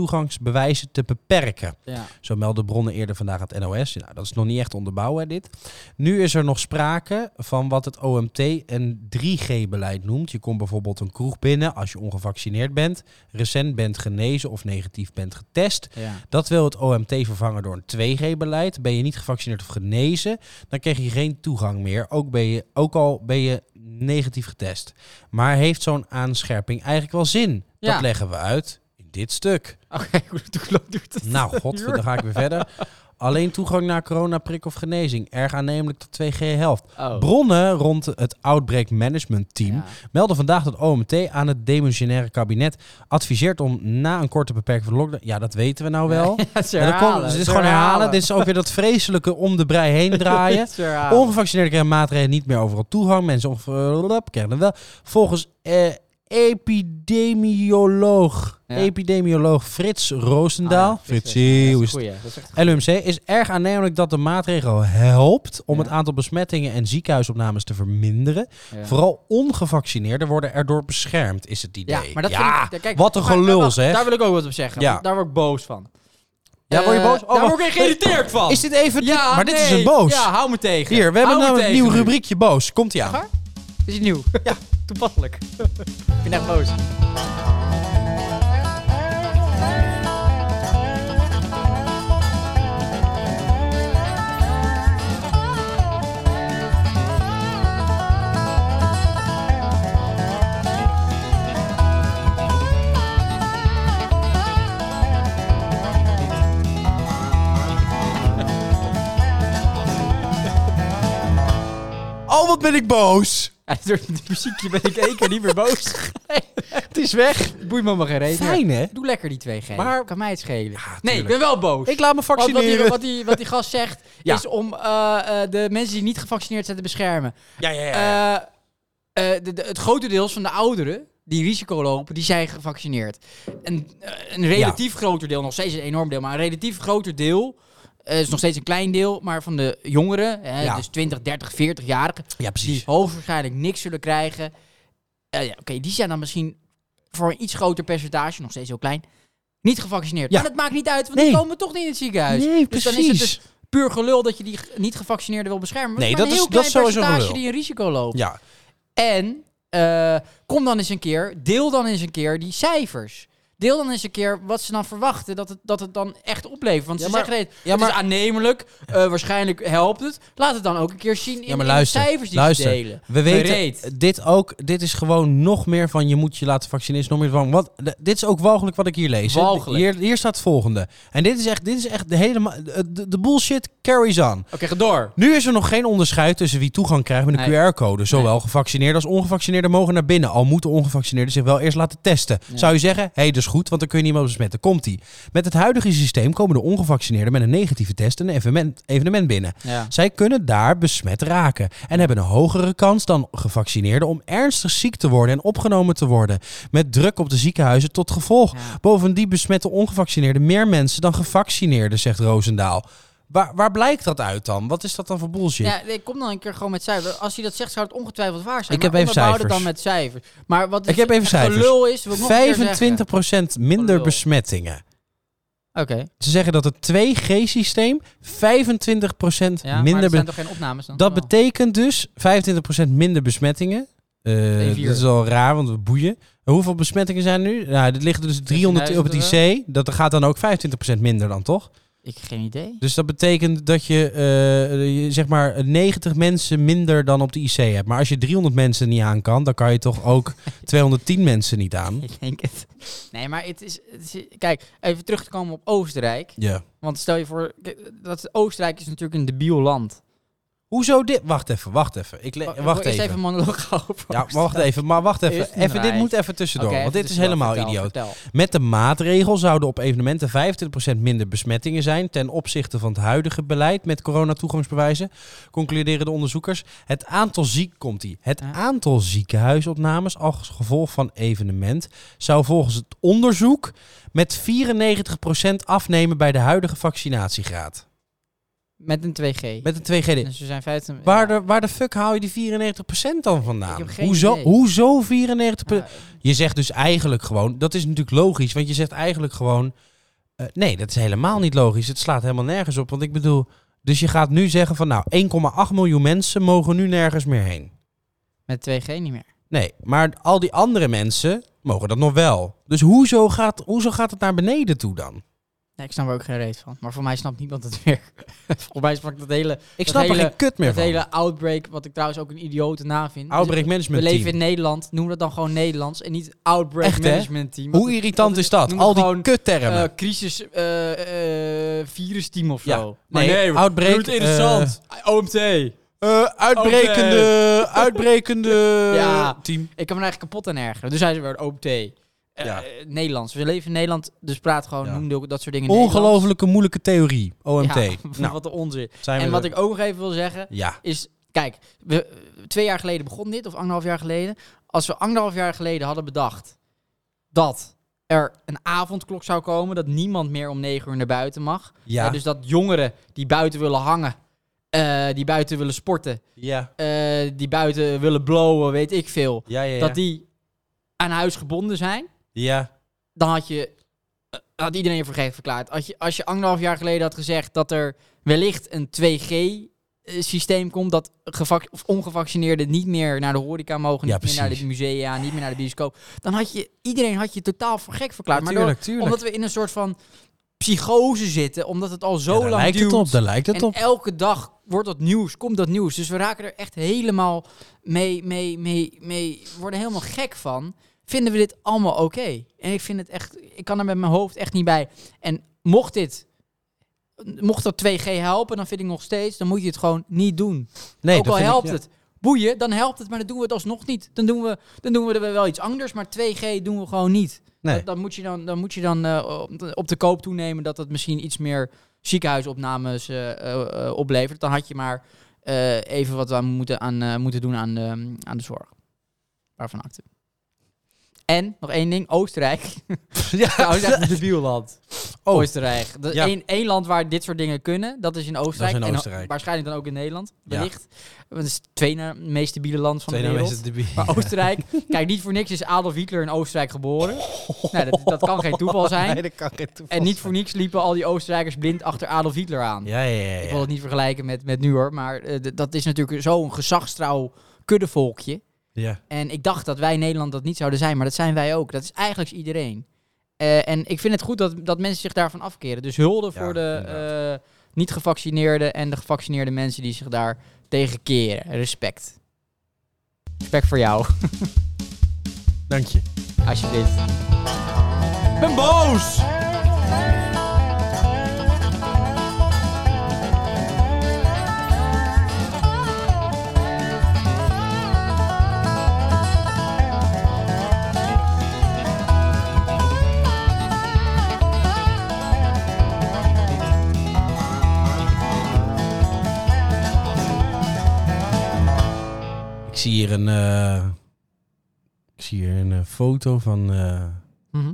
Speaker 1: coronatoegangsbewijzen te beperken.
Speaker 2: Ja.
Speaker 1: Zo melden bronnen eerder vandaag aan het NOS. Nou, dat is nog niet echt onderbouwen, hè, dit. Nu is er nog sprake van wat het OMT een 3G-beleid noemt. Je komt bijvoorbeeld een kroeg binnen als je ongevaccineerd bent, recent bent genezen of negatief bent getest.
Speaker 2: Ja.
Speaker 1: Dat wil het OMT vervangen door een 2G-beleid. Ben je niet gevaccineerd of genezen, dan krijg je geen toegang meer. Ook, ben je, ook al ben je negatief getest. Maar heeft zo'n aanscherping eigenlijk wel zin?
Speaker 2: Ja.
Speaker 1: Dat leggen we uit in dit stuk.
Speaker 2: Oké, hoe hoe lang duurt het?
Speaker 1: Nou, god, dan ga ik weer verder. Alleen toegang naar coronaprik of genezing. Erg aannemelijk tot 2G helft.
Speaker 2: Oh.
Speaker 1: Bronnen rond het Outbreak Management Team
Speaker 2: Ja.
Speaker 1: melden vandaag dat OMT aan het demissionaire kabinet adviseert om na een korte beperking van de lockdown... Ja, dat weten we nou wel.
Speaker 2: Ja, ze
Speaker 1: Ja, dan
Speaker 2: herhalen,
Speaker 1: komen- dus dit is
Speaker 2: ze
Speaker 1: gewoon herhalen. Dit is ook weer dat vreselijke om de brei heen draaien.
Speaker 2: Dit is herhalen.
Speaker 1: Ongevaccineerden krijgen maatregelen niet meer overal toegang. Mensen ongelap krijgen dan wel. Volgens eh, epidemioloog,
Speaker 2: Ja.
Speaker 1: epidemioloog Frits Roosendaal.
Speaker 2: Ah, ja,
Speaker 1: Fritsie, hoe is het?
Speaker 2: goeie. Dat is echt
Speaker 1: LUMC is erg aannemelijk dat de maatregel helpt om
Speaker 2: Ja.
Speaker 1: het aantal besmettingen en ziekenhuisopnames te verminderen.
Speaker 2: Ja.
Speaker 1: Vooral ongevaccineerden worden erdoor beschermd, is het idee.
Speaker 2: Ja, maar dat
Speaker 1: Ja.
Speaker 2: vind ik... Kijk,
Speaker 1: wat een
Speaker 2: maar- maar
Speaker 1: gelul,
Speaker 2: wacht,
Speaker 1: zeg.
Speaker 2: Daar wil ik ook wat op zeggen.
Speaker 1: Ja.
Speaker 2: want Daar word ik boos van.
Speaker 1: Ja, word je
Speaker 2: Eh,
Speaker 1: boos? Oh,
Speaker 2: daar
Speaker 1: wacht.
Speaker 2: word ik geïrriteerd van.
Speaker 1: Is dit even...
Speaker 2: ja,
Speaker 1: maar dit is
Speaker 2: nee.
Speaker 1: een boos.
Speaker 2: Ja, hou me tegen.
Speaker 1: Hier, we hebben
Speaker 2: Hou me
Speaker 1: namelijk een
Speaker 2: tegen
Speaker 1: nieuw
Speaker 2: nu.
Speaker 1: rubriekje boos. Komt ie aan.
Speaker 2: Echt waar? Is het nieuw? Ja, toepasselijk. ik ben echt boos.
Speaker 1: Oh, wat ben ik boos.
Speaker 2: Ja, door dit muziekje ben ik één keer niet meer boos. het is weg. Boeit me maar geen reet. meer.
Speaker 1: Fijn, hè?
Speaker 2: Doe lekker die 2G.
Speaker 1: Maar-
Speaker 2: Kan mij het schelen. nee,
Speaker 1: tuurlijk.
Speaker 2: ik ben wel boos.
Speaker 1: Ik laat me
Speaker 2: Want wat, die,
Speaker 1: vaccineren.
Speaker 2: wat, die, wat die gast zegt,
Speaker 1: Ja.
Speaker 2: is om eh, eh, de mensen die niet gevaccineerd zijn te beschermen.
Speaker 1: Ja, ja,
Speaker 2: Eh, eh, de, de- het grote deels van de ouderen die risico lopen, die zijn gevaccineerd. En, eh, een relatief groter deel, nog steeds een enorm deel, maar een relatief groter deel, eh, is nog steeds een klein deel, maar van de jongeren, hè,
Speaker 1: Ja.
Speaker 2: dus 20, 30, 40-jarigen,
Speaker 1: Ja,
Speaker 2: die
Speaker 1: precies.
Speaker 2: hoogstwaarschijnlijk niks zullen krijgen. Eh, ja, Oké, die zijn dan misschien voor een iets groter percentage, nog steeds heel klein, niet gevaccineerd.
Speaker 1: Ja.
Speaker 2: Maar dat maakt niet uit, want
Speaker 1: Nee.
Speaker 2: die komen toch niet in het ziekenhuis.
Speaker 1: Nee,
Speaker 2: Dus dan is het
Speaker 1: precies.
Speaker 2: dus puur gelul dat je die g- niet-gevaccineerden wil beschermen. Maar
Speaker 1: Nee,
Speaker 2: het is
Speaker 1: dat
Speaker 2: maar een
Speaker 1: is-
Speaker 2: heel
Speaker 1: dat is
Speaker 2: klein
Speaker 1: sowieso
Speaker 2: percentage
Speaker 1: gelul.
Speaker 2: die een risico loopt.
Speaker 1: Ja,
Speaker 2: En eh, kom dan eens een keer, deel dan eens een keer die cijfers. Deel dan eens een keer wat ze dan verwachten dat het, dat het dan echt oplevert. Want
Speaker 1: Ja,
Speaker 2: ze
Speaker 1: maar-
Speaker 2: zeggen nee,
Speaker 1: ja,
Speaker 2: het
Speaker 1: maar-
Speaker 2: is aannemelijk, eh, waarschijnlijk helpt het. Laat het dan ook een keer zien in,
Speaker 1: ja maar
Speaker 2: in
Speaker 1: luister.
Speaker 2: de cijfers die
Speaker 1: luister.
Speaker 2: ze delen.
Speaker 1: We weten
Speaker 2: Bereed.
Speaker 1: dit ook. Dit is gewoon nog meer van je moet je laten vaccineren. is Nog meer van, wat, d- dit is ook walgelijk wat ik hier lees. hè.
Speaker 2: Walgelijk.
Speaker 1: Hier, hier staat het volgende. En dit is echt, dit is echt de helemaal. De, de bullshit carries on.
Speaker 2: Oké, ga door.
Speaker 1: Nu is er nog geen onderscheid tussen wie toegang krijgt met een
Speaker 2: Nee.
Speaker 1: QR-code. Zowel gevaccineerden als ongevaccineerden mogen naar binnen. Al moeten ongevaccineerden zich wel eerst laten testen.
Speaker 2: Ja.
Speaker 1: Zou je zeggen, hé, hey, dat is goed, want dan kun je niemand besmetten. Komt-ie. Met het huidige systeem komen de ongevaccineerden met een negatieve test een evenement, evenement binnen.
Speaker 2: Ja.
Speaker 1: Zij kunnen daar besmet raken en hebben een hogere kans dan gevaccineerden om ernstig ziek te worden en opgenomen te worden. Met druk op de ziekenhuizen tot gevolg.
Speaker 2: Ja.
Speaker 1: Bovendien besmetten ongevaccineerden meer mensen dan gevaccineerden, zegt Roosendaal. Waar, waar blijkt dat uit dan? Wat is dat dan voor bullshit?
Speaker 2: Ja, nee, kom dan een keer gewoon met cijfers. Als hij dat zegt, zou het ongetwijfeld waar zijn.
Speaker 1: Ik heb
Speaker 2: maar
Speaker 1: even
Speaker 2: onderbouw het
Speaker 1: cijfers.
Speaker 2: dan met cijfers. Maar wat
Speaker 1: Ik heb even
Speaker 2: echt
Speaker 1: cijfers.
Speaker 2: gelul is, wil ik nog een keer zeggen. Oh,
Speaker 1: 25% minder
Speaker 2: Gelul.
Speaker 1: besmettingen.
Speaker 2: Oké. Ja,
Speaker 1: Ze zeggen dat het 2G-systeem 25%
Speaker 2: maar
Speaker 1: minder...
Speaker 2: er
Speaker 1: be-
Speaker 2: zijn toch geen opnames dan? Oh.
Speaker 1: dat
Speaker 2: Wel.
Speaker 1: betekent dus 25% minder besmettingen. Eh,
Speaker 2: Twee,
Speaker 1: dat
Speaker 2: vier.
Speaker 1: is al raar, want we boeien. En hoeveel besmettingen zijn er nu? Nou, dit ligt er dus 300 op het IC. Dat gaat dan ook 25% minder dan, toch?
Speaker 2: Ik heb geen idee.
Speaker 1: Dus dat betekent dat je, eh, je zeg maar 90 mensen minder dan op de IC hebt. Maar als je 300 mensen niet aan kan, dan kan je toch ook 210 mensen niet aan.
Speaker 2: Ik denk het. Nee, maar het is, het is- Kijk, even terug te komen op Oostenrijk.
Speaker 1: Ja.
Speaker 2: Want stel je voor... kijk, Dat Oostenrijk is natuurlijk een debiel land.
Speaker 1: Hoezo dit? Wacht even, wacht even. Ik le-
Speaker 2: Wa-
Speaker 1: wacht
Speaker 2: Eerst
Speaker 1: even.
Speaker 2: even een monoloog over
Speaker 1: Ja, maar wacht
Speaker 2: Oostenrijk.
Speaker 1: even. Maar wacht
Speaker 2: Eerst
Speaker 1: even.
Speaker 2: een
Speaker 1: even dit
Speaker 2: reis.
Speaker 1: moet even tussendoor.
Speaker 2: Oké,
Speaker 1: want
Speaker 2: even
Speaker 1: dit is
Speaker 2: tussendoor.
Speaker 1: helemaal
Speaker 2: Vertel,
Speaker 1: idioot.
Speaker 2: vertel.
Speaker 1: Met de maatregel zouden op evenementen 25% minder besmettingen zijn ten opzichte van het huidige beleid met coronatoegangsbewijzen, concluderen de onderzoekers. Het aantal ziek komt ie. Het
Speaker 2: Ja.
Speaker 1: aantal ziekenhuisopnames als gevolg van evenement zou volgens het onderzoek met 94% afnemen bij de huidige vaccinatiegraad.
Speaker 2: Met een 2G.
Speaker 1: Met een 2G.
Speaker 2: Dus we zijn 15...
Speaker 1: Waar de, waar de fuck haal je die 94% dan vandaan?
Speaker 2: Ik heb geen
Speaker 1: hoezo,
Speaker 2: idee.
Speaker 1: hoezo 94%?
Speaker 2: Nou,
Speaker 1: Je zegt dus eigenlijk gewoon, dat is natuurlijk logisch, want je zegt eigenlijk gewoon, eh, nee, dat is helemaal niet logisch. Het slaat helemaal nergens op, want ik bedoel, dus je gaat nu zeggen van, nou, 1,8 miljoen mensen mogen nu nergens meer heen.
Speaker 2: met 2G niet meer.
Speaker 1: Nee, maar al die andere mensen mogen dat nog wel. Dus hoezo gaat, hoezo gaat het naar beneden toe dan?
Speaker 2: Nee, ik snap er ook geen reet van. Maar voor mij snapt niemand het meer. Volgens mij snapt dat hele,
Speaker 1: Ik
Speaker 2: Dat
Speaker 1: snap er
Speaker 2: hele-
Speaker 1: geen kut meer
Speaker 2: dat
Speaker 1: van.
Speaker 2: hele outbreak, wat ik trouwens ook een idiote na vind. Dus, eh,
Speaker 1: Outbreak
Speaker 2: We
Speaker 1: management
Speaker 2: leven
Speaker 1: team.
Speaker 2: in Nederland, noem dat dan gewoon Nederlands en niet outbreak
Speaker 1: Echt, hè?
Speaker 2: management team.
Speaker 1: Hoe irritant is dat?
Speaker 2: noem
Speaker 1: Al
Speaker 2: het
Speaker 1: die
Speaker 2: gewoon,
Speaker 1: kuttermen.
Speaker 2: Eh, crisis eh, eh, virus team of
Speaker 1: Ja.
Speaker 2: zo.
Speaker 1: Nee, outbreak,
Speaker 2: doe het interessant. OMT.
Speaker 1: Eh, uitbrekende, uitbrekende
Speaker 2: Ja.
Speaker 1: team.
Speaker 2: Ik kan me er eigenlijk kapot aan ergeren. Dus hij zei weer OMT. Eh,
Speaker 1: Ja.
Speaker 2: eh, Nederlands. We leven in Nederland, dus praat gewoon,
Speaker 1: Ja.
Speaker 2: noem dat soort dingen
Speaker 1: Ongelooflijke moeilijke theorie, OMT.
Speaker 2: Nederlands. Ja,
Speaker 1: nou,
Speaker 2: wat een onzin.
Speaker 1: zijn we
Speaker 2: En wat
Speaker 1: er-
Speaker 2: ik ook nog even wil zeggen,
Speaker 1: Ja,
Speaker 2: is... Kijk, we, twee jaar geleden begon dit, of anderhalf jaar geleden. Als we anderhalf jaar geleden hadden bedacht dat er een avondklok zou komen... dat niemand meer om negen uur naar buiten mag.
Speaker 1: ja,
Speaker 2: Hè, dus dat jongeren die buiten willen hangen, eh, die buiten willen sporten...
Speaker 1: ja,
Speaker 2: eh, die buiten willen blowen, weet ik veel...
Speaker 1: ja, ja, ja.
Speaker 2: dat die aan huis gebonden zijn...
Speaker 1: ja,
Speaker 2: dan had je... eh, Had iedereen je vergeven verklaard. Als je, als je anderhalf jaar geleden had gezegd dat er wellicht een 2G-systeem komt. dat gevac- of ongevaccineerden niet meer naar de horeca mogen.
Speaker 1: Ja,
Speaker 2: niet meer naar de
Speaker 1: precies.
Speaker 2: musea, niet meer naar de bioscoop. dan had je iedereen had je totaal voor gek verklaard. maar door,
Speaker 1: tuurlijk, tuurlijk.
Speaker 2: omdat we in een soort van psychose zitten. omdat het al zo
Speaker 1: Ja, daar
Speaker 2: lang
Speaker 1: lijkt
Speaker 2: duurt.
Speaker 1: het op, daar lijkt het
Speaker 2: en
Speaker 1: op.
Speaker 2: elke dag wordt dat nieuws, komt dat nieuws. Dus we raken er echt helemaal mee, mee, mee, mee worden helemaal gek van. Vinden we dit allemaal oké? En ik vind het echt, ik kan er met mijn hoofd echt niet bij. En mocht dit, mocht dat 2G helpen, dan vind ik nog steeds, dan moet je het gewoon niet doen.
Speaker 1: Nee,
Speaker 2: Ook
Speaker 1: dat
Speaker 2: al
Speaker 1: vind ik-
Speaker 2: helpt
Speaker 1: ja.
Speaker 2: het. Boeien, dan helpt het, maar dan doen we het alsnog niet. Dan doen we, dan doen we er wel iets anders, maar 2G doen we gewoon niet.
Speaker 1: Nee.
Speaker 2: Dat- Dan moet je dan, dan, moet je dan eh, op- op de koop toenemen dat het misschien iets meer ziekenhuisopnames eh, eh, eh, oplevert. Dan had je maar eh, even wat aan moeten, aan, eh, moeten doen aan de, aan de zorg. Waarvan acte. En nog één ding, Oostenrijk.
Speaker 1: Ja.
Speaker 2: Trouwens, echt een debiel land.
Speaker 1: Oh.
Speaker 2: Oostenrijk. Dat
Speaker 1: Ja.
Speaker 2: één, één land waar dit soort dingen kunnen, dat is in Oostenrijk.
Speaker 1: in
Speaker 2: En ho-
Speaker 1: Oostenrijk.
Speaker 2: waarschijnlijk dan ook in Nederland,
Speaker 1: Ja.
Speaker 2: wellicht. Want het is het tweede meest stabiele land van
Speaker 1: Twee
Speaker 2: de
Speaker 1: nou
Speaker 2: wereld.
Speaker 1: is het debiel.
Speaker 2: Maar Oostenrijk, kijk, niet voor niks is Adolf Hitler in Oostenrijk geboren. Nou, dat, dat kan geen toeval zijn.
Speaker 1: Nee, dat kan geen toeval
Speaker 2: En niet voor niks liepen al die Oostenrijkers blind achter Adolf Hitler aan.
Speaker 1: Ja, ja, ja.
Speaker 2: Ik
Speaker 1: ja.
Speaker 2: wil het niet vergelijken met, met nu hoor, maar eh, d- dat is natuurlijk zo'n gezagstrouw kuddevolkje.
Speaker 1: ja.
Speaker 2: En ik dacht dat wij in Nederland dat niet zouden zijn, maar dat zijn wij ook. Dat is eigenlijk iedereen. Eh, en ik vind het goed dat, dat mensen zich daarvan afkeren. Dus hulde
Speaker 1: Ja,
Speaker 2: voor de
Speaker 1: inderdaad.
Speaker 2: eh, niet-gevaccineerden en de gevaccineerde mensen die zich daar tegen keren. Respect. Respect voor jou,
Speaker 1: Dank je.
Speaker 2: alsjeblieft.
Speaker 1: Ik ben boos! Ik zie hier een, eh, ik zie hier een eh, foto van eh,
Speaker 2: Mhm.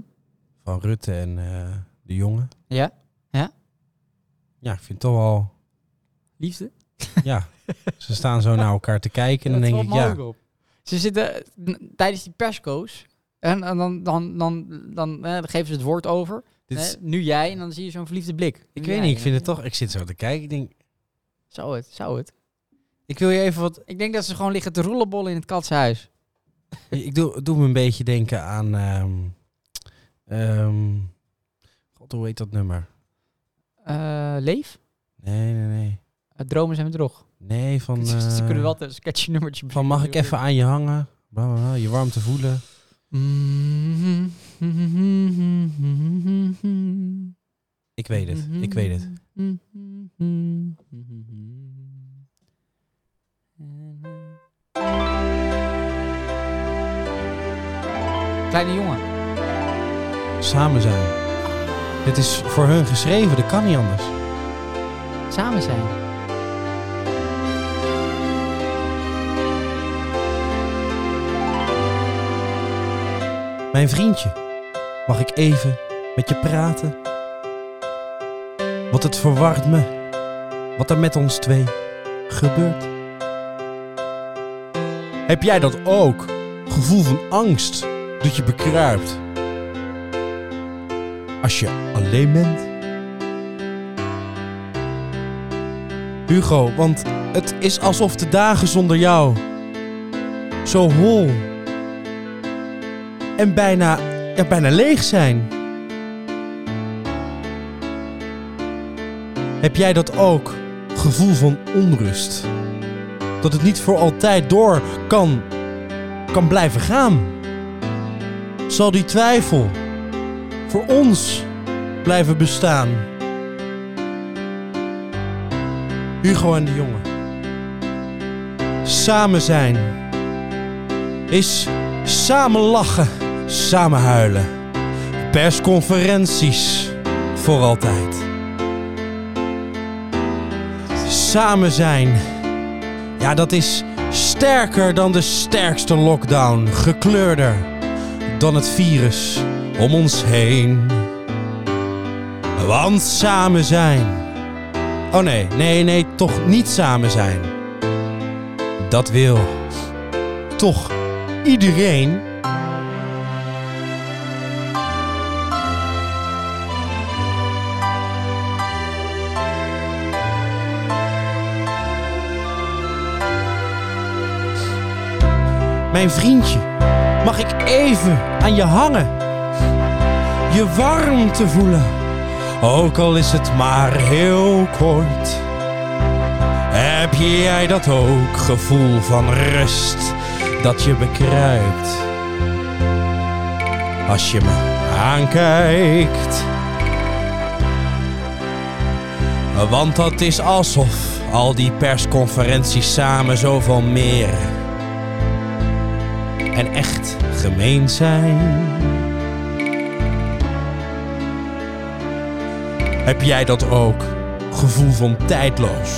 Speaker 1: van Rutte en eh, de jongen.
Speaker 2: Ja? Ja?
Speaker 1: Ja, ik vind het toch wel...
Speaker 2: Liefde?
Speaker 1: Ja, ze staan zo naar elkaar te kijken en dan denk ik, ja,
Speaker 2: op. Ze zitten n- tijdens die persco's. En, en dan, dan, dan, dan, eh, dan geven ze het woord over.
Speaker 1: dit
Speaker 2: Hè,
Speaker 1: is-
Speaker 2: nu jij, en dan zie je zo'n verliefde blik. Nu
Speaker 1: ik
Speaker 2: jij,
Speaker 1: weet niet, ik
Speaker 2: en
Speaker 1: vind het
Speaker 2: dan-
Speaker 1: toch... Ik zit zo te kijken, ik denk,
Speaker 2: Zou het, zou het.
Speaker 1: ik wil je even wat...
Speaker 2: Ik denk dat ze gewoon liggen te rollenbollen in het katshuis.
Speaker 1: Ik doe, doe me een beetje denken aan... ehm, ehm, God, hoe heet dat nummer?
Speaker 2: Eh, Leef?
Speaker 1: Nee, nee, nee.
Speaker 2: Eh, dromen zijn bedrog.
Speaker 1: Nee, van...
Speaker 2: Ze- ze
Speaker 1: eh,
Speaker 2: kunnen wel een sketchy nummertje
Speaker 1: Van mag ik
Speaker 2: bedenken,
Speaker 1: even aan je hangen? Bla, bla, bla, je warmte voelen. Mm-hmm.
Speaker 2: joh.
Speaker 1: Ik weet het.
Speaker 2: Mhm.
Speaker 1: Ik weet het.
Speaker 2: Kleine jongen.
Speaker 1: Samen zijn. Dit is voor hun geschreven. Dat kan niet anders.
Speaker 2: Samen zijn.
Speaker 1: Mijn vriendje, mag ik even met je praten? Want het verwart me wat er met ons twee gebeurt. Heb jij dat ook? Gevoel van angst dat je bekruipt. Als je alleen bent. Hugo, want het is alsof de dagen zonder jou zo hol en bijna, ja, bijna leeg zijn. Heb jij dat ook? Gevoel van onrust. Dat het niet voor altijd door kan, kan blijven gaan. Zal die twijfel voor ons blijven bestaan? Hugo en de jongen. Samen zijn is samen lachen, samen huilen. Persconferenties voor altijd. Samen zijn. Ja, dat is sterker dan de sterkste lockdown. Gekleurder dan het virus om ons heen. Want samen zijn. Oh nee, nee, nee, toch niet samen zijn. Dat wil toch iedereen. Mijn vriendje, mag ik even aan je hangen? Je warmte voelen, ook al is het maar heel kort. Heb jij dat ook gevoel van rust dat je bekruipt? Als je me aankijkt. Want dat is alsof al die persconferenties samen zoveel meer en echt gemeen zijn. Heb jij dat ook? Gevoel van tijdloos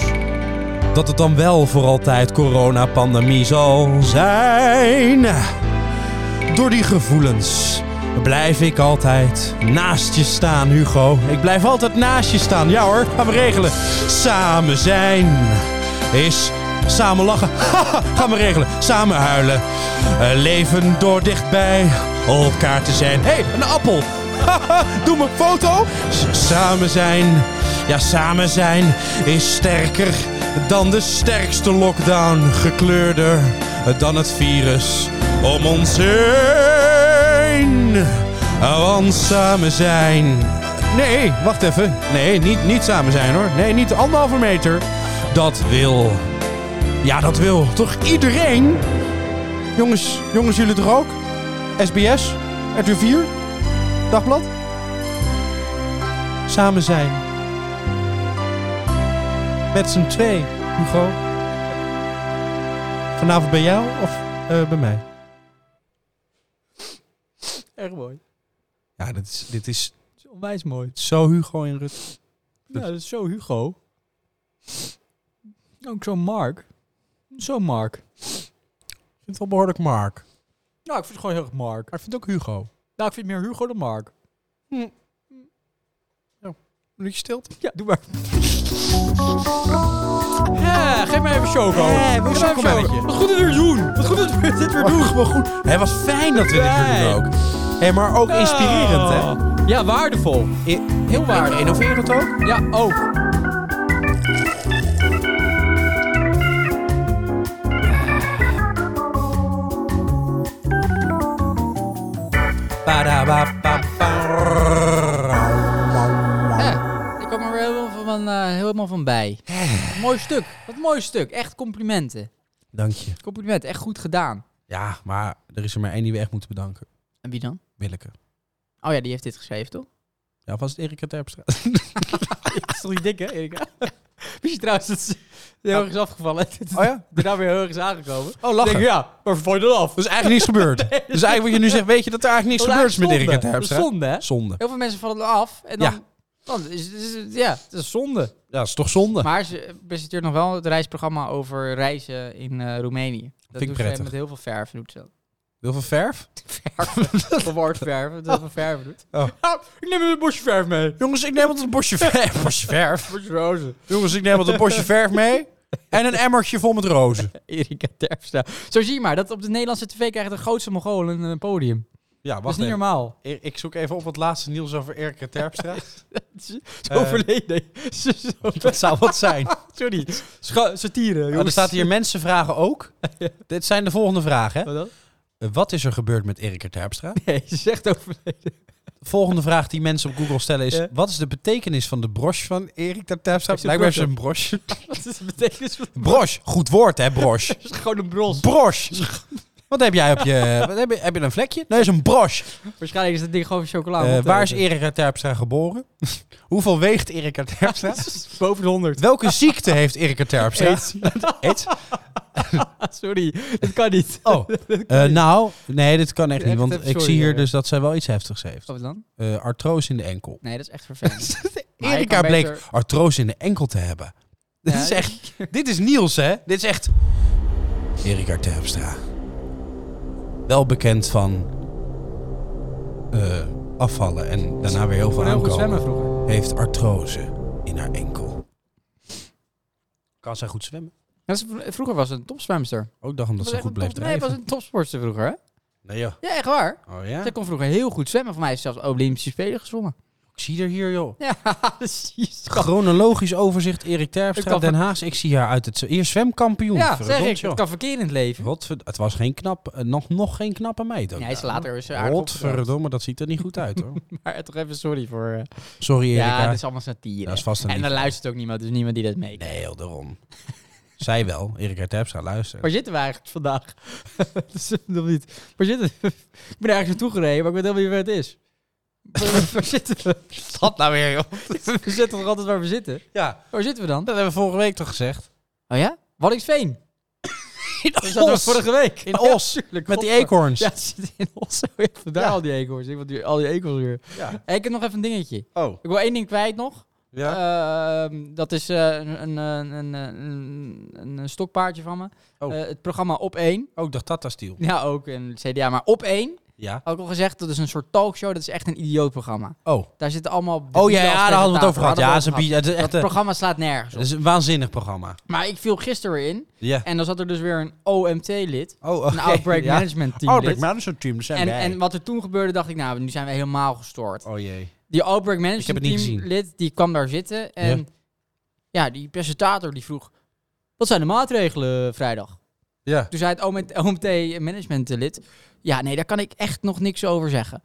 Speaker 1: dat het dan wel voor altijd coronapandemie zal zijn. Door die gevoelens blijf ik altijd naast je staan, Hugo. Ik blijf altijd naast je staan. Ja hoor, gaan we regelen. Samen zijn is samen lachen. gaan we regelen. Samen huilen. Eh, Leven door dichtbij elkaar te zijn. Hé, hey, een appel. Doe me een foto. S- Samen zijn. Ja, samen zijn is sterker dan de sterkste lockdown. Gekleurder dan het virus om ons heen. Oh, Want samen zijn. Nee, wacht even. Nee, niet, niet samen zijn hoor. Nee, niet anderhalve meter. Dat wil. Ja, dat wil toch iedereen? Jongens, jongens, jullie toch ook? SBS, RT4, Dagblad? Samen zijn. Met z'n twee, Hugo. Vanavond bij jou of eh, bij mij?
Speaker 2: Erg mooi.
Speaker 1: Ja, dit is, dit is
Speaker 2: Het is onwijs mooi.
Speaker 1: zo Hugo en Rut.
Speaker 2: Ja, dat is zo Hugo. Ook zo Mark. Zo Mark.
Speaker 1: Ik vind het wel behoorlijk Mark.
Speaker 2: Nou, ik vind het gewoon heel erg Mark.
Speaker 1: Maar ik vind ook Hugo.
Speaker 2: Nou, ik vind meer Hugo dan Mark.
Speaker 1: Een je stilte.
Speaker 2: Ja, doe maar. Ja, geef mij even choco.
Speaker 1: Ja,
Speaker 2: Geef mij
Speaker 1: wil je
Speaker 2: even
Speaker 1: chocomelletje?
Speaker 2: Wat goed dat we dit doen. Wat goed dat we dit weer doen.
Speaker 1: Wel goed. Hij was fijn dat we dit weer doen ook. Hé, maar ook inspirerend, hè?
Speaker 2: Ja, waardevol.
Speaker 1: Heel
Speaker 2: waardevol.
Speaker 1: Innoverend ook.
Speaker 2: Ja,
Speaker 4: oh.
Speaker 2: ook.
Speaker 1: Ba-da-ba-ba-ba.
Speaker 2: Ja, ik kwam er wel
Speaker 4: eh, mooi stuk. Wat een mooi stuk. Echt complimenten.
Speaker 1: Dank je.
Speaker 4: Complimenten. Echt goed gedaan.
Speaker 1: Ja, maar er is er maar één die we echt moeten bedanken.
Speaker 4: En wie dan?
Speaker 1: Willeke.
Speaker 4: Oh ja, die heeft dit geschreven, toch?
Speaker 1: Ja, of was het Erika Terpstra?
Speaker 2: Ah,
Speaker 4: Dat is toch niet dik, hè, Erika? Wist je trouwens dat ze heel erg is afgevallen? Dat
Speaker 1: Oh ja?
Speaker 4: is daar weer heel erg is aangekomen.
Speaker 1: Oh,
Speaker 4: Ik denk,
Speaker 1: lachen.
Speaker 4: ja, maar verval je dan af?
Speaker 1: Er is eigenlijk niets gebeurd. Dus eigenlijk wat je nu zegt, weet je dat er eigenlijk niks
Speaker 4: Oh,
Speaker 1: gebeurd
Speaker 4: Dat
Speaker 1: is met
Speaker 4: eigenlijk
Speaker 1: Erika
Speaker 4: zonde. Dat is
Speaker 1: Terpstra?
Speaker 4: zonde, hè?
Speaker 1: Zonde.
Speaker 4: Heel veel mensen vallen af en dan... dan is, is- is- ja, het is zonde.
Speaker 1: Ja, dat is toch zonde?
Speaker 4: Maar ze presenteert nog wel het reisprogramma over reizen in eh, Roemenië. Dat
Speaker 1: vind ik
Speaker 4: doet
Speaker 1: prettig.
Speaker 4: ze met heel veel verf. Doet ze dat.
Speaker 1: Heel veel verf?
Speaker 4: Verf. Verward verf. Dat heel veel verf doet.
Speaker 1: Oh.
Speaker 4: Ah, ik neem een bosje verf mee.
Speaker 1: Jongens, ik neem altijd een bosje verf. Bosje verf?
Speaker 4: Bosje rozen.
Speaker 1: Jongens, ik neem altijd een bosje verf mee. En een emmertje vol met rozen.
Speaker 4: Erika Terpstra. Zo zie je maar, dat op de Nederlandse tv krijgen de grootste Mongolen een podium.
Speaker 1: Ja,
Speaker 4: Dat is
Speaker 1: wacht
Speaker 4: niet
Speaker 1: even.
Speaker 4: normaal.
Speaker 1: Ik ik zoek even op wat laatste nieuws over Erika Terpstra.
Speaker 4: Zo
Speaker 1: Eh.
Speaker 4: verleden. Zo- zo-
Speaker 1: dat zou wat zijn.
Speaker 4: Sorry. Scha- Satire, jongens.
Speaker 1: Oh, er staat hier mensen vragen ook. Dit zijn de volgende vragen. hè.
Speaker 4: Wat dan?
Speaker 1: Eh, Wat is er gebeurd met Erika Terpstra?
Speaker 4: Nee, ze zegt overleden.
Speaker 1: Volgende vraag die mensen op Google stellen is...
Speaker 4: Ja.
Speaker 1: Wat is de betekenis van de broche van Erika Terpstra?
Speaker 4: Heeft ze een
Speaker 1: Blijkbaar is een broche.
Speaker 4: Wat is de betekenis van...
Speaker 1: Broche, goed woord hè, broche.
Speaker 4: Het is gewoon een bros.
Speaker 1: Broche. Wat heb jij op je... Wat heb, je heb je een vlekje? Nee, is een broche.
Speaker 4: Waarschijnlijk is dat ding gewoon chocola.
Speaker 1: Eh,
Speaker 4: Moet
Speaker 1: waar is
Speaker 4: eten.
Speaker 1: Erika Terpstra geboren? Hoeveel weegt Erika Terpstra?
Speaker 4: Boven de 100.
Speaker 1: Welke ziekte heeft Erika Terpstra? Aids.
Speaker 4: Ah, Sorry, dat kan niet.
Speaker 1: Oh, eh, nou, nee, dit kan echt niet.
Speaker 4: Echt,
Speaker 1: Want
Speaker 4: even
Speaker 1: ik
Speaker 4: sorry,
Speaker 1: zie hier
Speaker 4: eh.
Speaker 1: dus dat zij wel iets heftigs heeft.
Speaker 4: Wat dan?
Speaker 1: Eh artrose in de enkel.
Speaker 4: Nee, dat is echt vervelend. Maar je
Speaker 1: Erika
Speaker 4: kan
Speaker 1: bleek
Speaker 4: beter-
Speaker 1: artrose in de enkel te hebben. Dit
Speaker 4: Ja,
Speaker 1: is echt... Dit is Niels, hè? Dit is echt... Erika Terpstra. Wel bekend van... eh, afvallen en daarna weer heel veel
Speaker 4: Gewoon heel goed zwemmen
Speaker 1: aankomen.
Speaker 4: vroeger.
Speaker 1: Heeft artrose in haar enkel. Kan zij goed zwemmen?
Speaker 4: Dat is- Vroeger was ze een topzwemster.
Speaker 1: Ook dacht omdat
Speaker 4: Was
Speaker 1: ze
Speaker 4: echt
Speaker 1: goed
Speaker 4: een
Speaker 1: bleef
Speaker 4: top- Nee, was
Speaker 1: drijven.
Speaker 4: een topsportster vroeger, hè?
Speaker 1: Nee, joh.
Speaker 4: Ja, echt waar.
Speaker 1: Oh ja?
Speaker 4: Zij kon vroeger heel goed zwemmen. Voor mij is ze zelfs Olympische Spelen gezwommen.
Speaker 1: Ik zie er hier, joh.
Speaker 4: Ja, precies.
Speaker 1: Chronologisch overzicht Erik
Speaker 4: Ik
Speaker 1: Terpstra,
Speaker 4: kan
Speaker 1: Den Haag. Ik zie haar uit het... Hier zwemkampioen.
Speaker 4: Ja, zeg
Speaker 1: Verdomd,
Speaker 4: ik.
Speaker 1: joh.
Speaker 4: Het kan verkeer in het leven.
Speaker 1: Godverd- Het was geen knap, eh, nog, nog geen knappe meid. ook.
Speaker 4: Nee, hij is later is ze aardig opgedraaid.
Speaker 1: Godverdomme, dat ziet er niet goed uit hoor.
Speaker 4: Maar toch even sorry voor... eh,
Speaker 1: Sorry Erika.
Speaker 4: ja, dat is allemaal satire.
Speaker 1: Dat is vast een
Speaker 4: en dan
Speaker 1: liefde.
Speaker 4: luistert ook niemand, dus niemand die dat meekijkt.
Speaker 1: Nee, heel daarom. Zij wel, Erika Terpstra, luister.
Speaker 4: Waar zitten we eigenlijk vandaag? dat is nog niet. Waar zitten we? Ik ben er ergens naartoe gereden, maar ik weet helemaal niet waar het is. waar, waar zitten we?
Speaker 1: dat nou weer joh?
Speaker 4: We zitten toch altijd waar we zitten?
Speaker 1: Ja,
Speaker 4: Waar zitten we dan?
Speaker 1: dat hebben we vorige week toch gezegd?
Speaker 4: Oh ja? Waddingsveen. We zaten
Speaker 1: Os.
Speaker 4: vorige week.
Speaker 1: In
Speaker 4: Oh ja,
Speaker 1: Os.
Speaker 4: tuurlijk,
Speaker 1: Met die
Speaker 4: godver-
Speaker 1: eekhoorns.
Speaker 4: Ja, het zit in Os. Oh ja, Vandaar
Speaker 1: Ja.
Speaker 4: al die eekhoorns. Ik wil die- al die eekhoorns weer.
Speaker 1: Ja.
Speaker 4: Hey, ik heb nog even een dingetje.
Speaker 1: Oh.
Speaker 4: Ik wil één ding kwijt nog.
Speaker 1: Ja.
Speaker 4: Ehm, dat is eh, een, een, een, een, een, een stokpaardje van me.
Speaker 1: Oh.
Speaker 4: Eh, het programma Op 1.
Speaker 1: Ook de Oh, Tata Steel.
Speaker 4: Ja, ook een CDA. Maar Op 1,
Speaker 1: Ja.
Speaker 4: had ik al gezegd, dat is een soort talkshow. Dat is echt een idioot programma.
Speaker 1: Oh.
Speaker 4: Daar zitten allemaal...
Speaker 1: Oh
Speaker 4: debielen
Speaker 1: ja,
Speaker 4: als
Speaker 1: ja, daar hadden we het over gehad.
Speaker 4: presentator.
Speaker 1: Ja, het is
Speaker 4: Hadden
Speaker 1: een beetje-
Speaker 4: we
Speaker 1: het is
Speaker 4: over gehad.
Speaker 1: echt
Speaker 4: Dat
Speaker 1: een,
Speaker 4: programma slaat nergens
Speaker 1: het
Speaker 4: op.
Speaker 1: is een waanzinnig programma.
Speaker 4: Maar ik viel gisteren in.
Speaker 1: Ja.
Speaker 4: En dan zat er dus weer een OMT-lid.
Speaker 1: Oh,
Speaker 4: Een Outbreak Management Team
Speaker 1: Outbreak
Speaker 4: lid.
Speaker 1: Management Team, dat zijn
Speaker 4: En,
Speaker 1: wij.
Speaker 4: en wat er toen gebeurde, dacht ik, nou, nu zijn we helemaal gestoord.
Speaker 1: Oh jee.
Speaker 4: Die Outbreak
Speaker 1: heb
Speaker 4: Management
Speaker 1: het niet
Speaker 4: Team
Speaker 1: gezien.
Speaker 4: lid, die kwam daar zitten. En
Speaker 1: Ja.
Speaker 4: ja. die presentator die vroeg, wat zijn de maatregelen vrijdag?
Speaker 1: Ja.
Speaker 4: Toen zei het OMT, OMT Management lid, ja nee, daar kan ik echt nog niks over zeggen.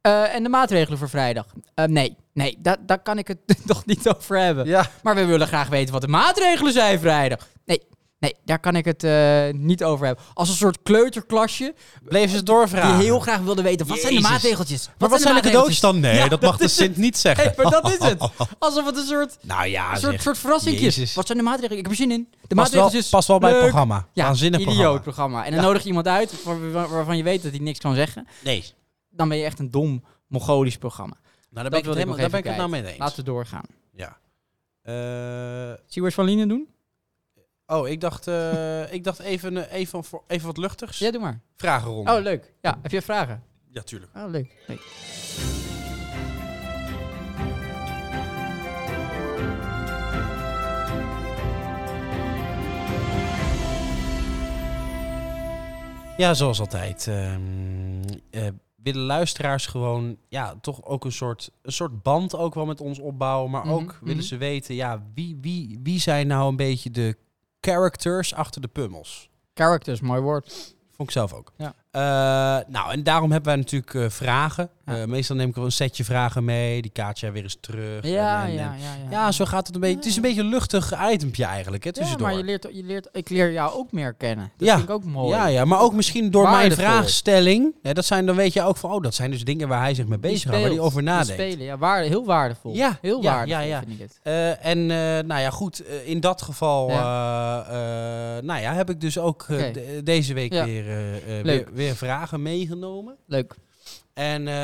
Speaker 4: Eh, en de maatregelen voor vrijdag? Eh, nee, nee, da daar kan ik het nog niet over hebben.
Speaker 1: Ja.
Speaker 4: Maar we willen graag weten wat de maatregelen zijn vrijdag. Nee, nee, daar kan ik het eh, niet over hebben. Als een soort kleuterklasje
Speaker 1: Bleef ze doorvragen.
Speaker 4: die heel graag wilde weten, wat zijn de
Speaker 1: Jezus.
Speaker 4: maatregeltjes?
Speaker 1: Maar wat zijn de cadeautjes dan? Nee,
Speaker 4: Ja,
Speaker 1: dat mag de
Speaker 4: dat is
Speaker 1: Sint niet zeggen.
Speaker 4: Hey, maar dat is het. Alsof het een soort,
Speaker 1: Nou ja,
Speaker 4: een
Speaker 1: zeg.
Speaker 4: soort, soort verrassingjes.
Speaker 1: Jezus.
Speaker 4: Wat zijn de maatregelen? Ik heb er zin in. De
Speaker 1: Past wel,
Speaker 4: maatregelen is... dus
Speaker 1: past wel bij het
Speaker 4: leuk.
Speaker 1: programma.
Speaker 4: Ja,
Speaker 1: Waanzinnig
Speaker 4: idioot
Speaker 1: programma.
Speaker 4: programma. En dan nodig je iemand uit waar- waar- waarvan je weet dat hij niks kan zeggen.
Speaker 1: Nee.
Speaker 4: Dan ben je echt een dom Mongolisch programma.
Speaker 1: Nou, daar
Speaker 4: wil
Speaker 1: ben
Speaker 4: ik
Speaker 1: ik het,
Speaker 4: nog
Speaker 1: helemaal, daar
Speaker 4: even
Speaker 1: ben ik het nou mee eens.
Speaker 4: Laten we doorgaan.
Speaker 1: Ja. Eh,
Speaker 4: Zie je wat Van Lienen doen?
Speaker 1: oh, ik dacht, eh, ik dacht even, eh, even, voor, even wat luchtigs.
Speaker 4: Ja, doe maar.
Speaker 1: Vragenronde.
Speaker 4: Oh, leuk. Ja, heb je vragen?
Speaker 1: ja, tuurlijk.
Speaker 4: Oh, leuk. leuk.
Speaker 1: Ja, zoals altijd. ehm, eh, willen luisteraars gewoon ja, toch ook een soort, een soort band ook wel met ons opbouwen. Maar
Speaker 4: Mhm,
Speaker 1: ook willen
Speaker 4: mhm.
Speaker 1: ze weten, ja, wie, wie, wie zijn nou een beetje de characters achter de pummels?
Speaker 4: Characters, mooi woord.
Speaker 1: Vond ik zelf ook.
Speaker 4: Ja.
Speaker 1: Eh, nou, en daarom hebben wij natuurlijk eh, vragen.
Speaker 2: Ja.
Speaker 1: Eh, meestal neem ik wel een setje vragen mee. Die kaart jij weer eens terug.
Speaker 2: Ja,
Speaker 1: En- en-
Speaker 2: ja,
Speaker 1: en-
Speaker 2: ja, ja.
Speaker 1: Ja, zo gaat het een beetje. Het is een beetje een luchtig itempje eigenlijk, hè,
Speaker 2: Ja,
Speaker 1: tussendoor.
Speaker 2: maar je leert, je leert, ik leer jou ook meer kennen. Dat
Speaker 1: Ja.
Speaker 2: vind ik ook mooi.
Speaker 1: Ja, ja, maar ook misschien door
Speaker 2: Waardevol.
Speaker 1: mijn vraagstelling. Hè, dat zijn, dan weet je ook van, oh, dat zijn dus dingen waar hij zich mee
Speaker 2: Die
Speaker 1: bezig houdt, waar hij
Speaker 2: speelt,
Speaker 1: over
Speaker 2: die
Speaker 1: nadenkt.
Speaker 2: spelen, ja, waarde, heel waardevol.
Speaker 1: Ja,
Speaker 2: heel
Speaker 1: ja,
Speaker 2: waardevol
Speaker 1: ja, ja.
Speaker 2: vind ik het.
Speaker 1: Eh, en eh, nou ja, goed, eh, in dat geval eh, eh, nou ja, heb ik dus ook eh,
Speaker 2: Oké.
Speaker 1: de- deze week
Speaker 2: Ja.
Speaker 1: weer, eh,
Speaker 2: Leuk.
Speaker 1: eh, weer, weer vragen meegenomen.
Speaker 2: Leuk.
Speaker 1: En eh,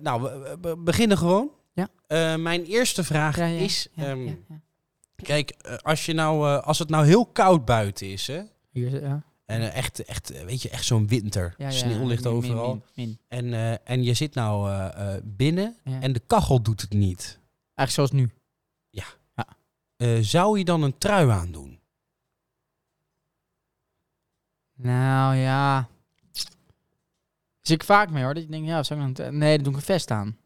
Speaker 1: nou, we, we beginnen gewoon.
Speaker 2: Ja.
Speaker 1: Eh, mijn eerste vraag
Speaker 2: Ja, ja,
Speaker 1: is,
Speaker 2: ja,
Speaker 1: ehm,
Speaker 2: ja, ja.
Speaker 1: kijk, eh, als, je nou, eh, als het nou heel koud buiten is, hè,
Speaker 2: Hier is het, ja.
Speaker 1: en eh, echt, echt, eh, weet je, echt zo'n winter,
Speaker 2: Ja, ja,
Speaker 1: sneeuw
Speaker 2: ja,
Speaker 1: ligt
Speaker 2: min, min,
Speaker 1: overal,
Speaker 2: min, min.
Speaker 1: En, eh, en je zit nou eh, eh, binnen
Speaker 2: Ja.
Speaker 1: en de kachel doet het niet.
Speaker 2: Eigenlijk zoals nu.
Speaker 1: Eh, zou je dan een trui aandoen?
Speaker 2: Nou ja. Zie ik vaak mee hoor. Dat je denkt, ja, zou ik dan... Nee, dan doe ik een vest aan.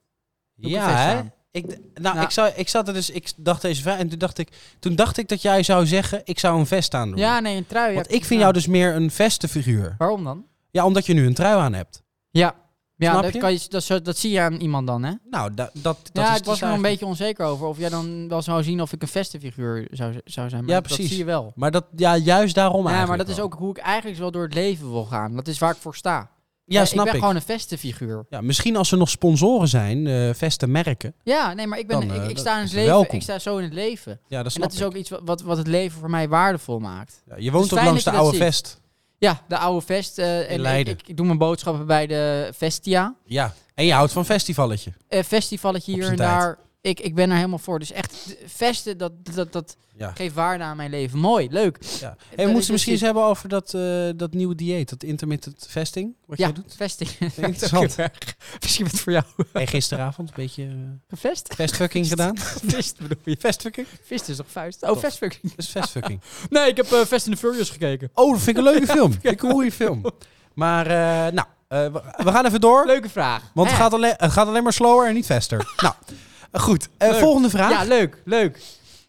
Speaker 2: Doe ik een vest aan.
Speaker 1: Ik, d- nou,
Speaker 2: Nou.
Speaker 1: Ik, zou, ik zat er dus, ik dacht deze vraag en toen dacht ik, toen dacht ik dat jij zou zeggen, ik zou een vest aandoen.
Speaker 2: Ja, nee, een trui. ja,
Speaker 1: Want ik
Speaker 2: klopt,
Speaker 1: vind
Speaker 2: ja.
Speaker 1: jou dus meer een vestenfiguur.
Speaker 2: Waarom dan?
Speaker 1: Ja, omdat je nu een trui aan hebt.
Speaker 2: Ja. Ja,
Speaker 1: Snap
Speaker 2: dat,
Speaker 1: je?
Speaker 2: Kan je, dat, zo- dat zie je aan iemand dan, hè?
Speaker 1: Nou, da- dat, dat
Speaker 2: ja,
Speaker 1: is
Speaker 2: ik was
Speaker 1: dus
Speaker 2: er nog een
Speaker 1: eigenlijk-
Speaker 2: beetje onzeker over. Of jij dan wel zou zien of ik een vestenfiguur zou, zou zijn. Maar
Speaker 1: Ja,
Speaker 2: Dat
Speaker 1: precies.
Speaker 2: zie je wel.
Speaker 1: Maar dat, ja, juist daarom
Speaker 2: Ja, maar
Speaker 1: eigenlijk
Speaker 2: dat is
Speaker 1: wel.
Speaker 2: ook hoe ik eigenlijk wel door het leven wil gaan. Dat is waar ik voor sta.
Speaker 1: Ja,
Speaker 2: Eh,
Speaker 1: snap
Speaker 2: ik ben
Speaker 1: ik.
Speaker 2: gewoon een vestenfiguur.
Speaker 1: Ja, misschien als er nog sponsoren zijn, eh vestenmerken.
Speaker 2: Ja, nee, maar ik, ben,
Speaker 1: Dan,
Speaker 2: ik,
Speaker 1: eh,
Speaker 2: ik
Speaker 1: dat
Speaker 2: sta in
Speaker 1: is
Speaker 2: het leven.
Speaker 1: welkom.
Speaker 2: Ik sta zo in het leven.
Speaker 1: Ja, dat
Speaker 2: En
Speaker 1: snap
Speaker 2: dat is ook iets wat- wat, wat het leven voor mij waardevol maakt.
Speaker 1: ik. Ja, je woont
Speaker 2: dus
Speaker 1: ook
Speaker 2: fijn
Speaker 1: langs de
Speaker 2: dat je dat
Speaker 1: oude
Speaker 2: ziet.
Speaker 1: vest.
Speaker 2: Ja, de oude vest. eh, en ik-
Speaker 1: Leiden.
Speaker 2: Ik, ik doe mijn boodschappen bij de Vestia.
Speaker 1: Ja, en je houdt van festivalletje.
Speaker 2: Eh festivalletje
Speaker 1: Op
Speaker 2: hier en
Speaker 1: z'n tijd.
Speaker 2: daar. Ik, ik ben er helemaal voor. Dus echt, de- vesten, dat, dat, dat
Speaker 1: Ja.
Speaker 2: geeft waarde aan mijn leven. Mooi, leuk.
Speaker 1: Ja.
Speaker 2: Dat
Speaker 1: Hey, we
Speaker 2: is
Speaker 1: moeten het misschien
Speaker 2: dus
Speaker 1: eens hebben over dat, eh, dat nieuwe dieet, dat intermittent fasting, wat
Speaker 2: Ja,
Speaker 1: jij doet.
Speaker 2: vesting.
Speaker 1: Interessant.
Speaker 2: Misschien wat voor jou.
Speaker 1: Hey, gisteravond een beetje eh,
Speaker 2: Vest?
Speaker 1: festfucking gedaan.
Speaker 2: Vest bedoel je?
Speaker 1: Festfucking?
Speaker 2: Vist is toch vuist? Oh,
Speaker 1: Toch.
Speaker 2: vestfucking.
Speaker 1: Dat is festfucking.
Speaker 2: Nee, ik heb eh, Fast and the Furious gekeken.
Speaker 1: Oh, dat vind ik een leuke film. Ik een goede film. Maar, eh, nou, eh, we, we gaan even door.
Speaker 2: Leuke vraag.
Speaker 1: Want
Speaker 2: Hè?
Speaker 1: het gaat, alleen, het gaat alleen maar slower en niet faster. nou, eh, goed. Eh,
Speaker 2: Leuk.
Speaker 1: volgende vraag.
Speaker 2: Ja, leuk, leuk.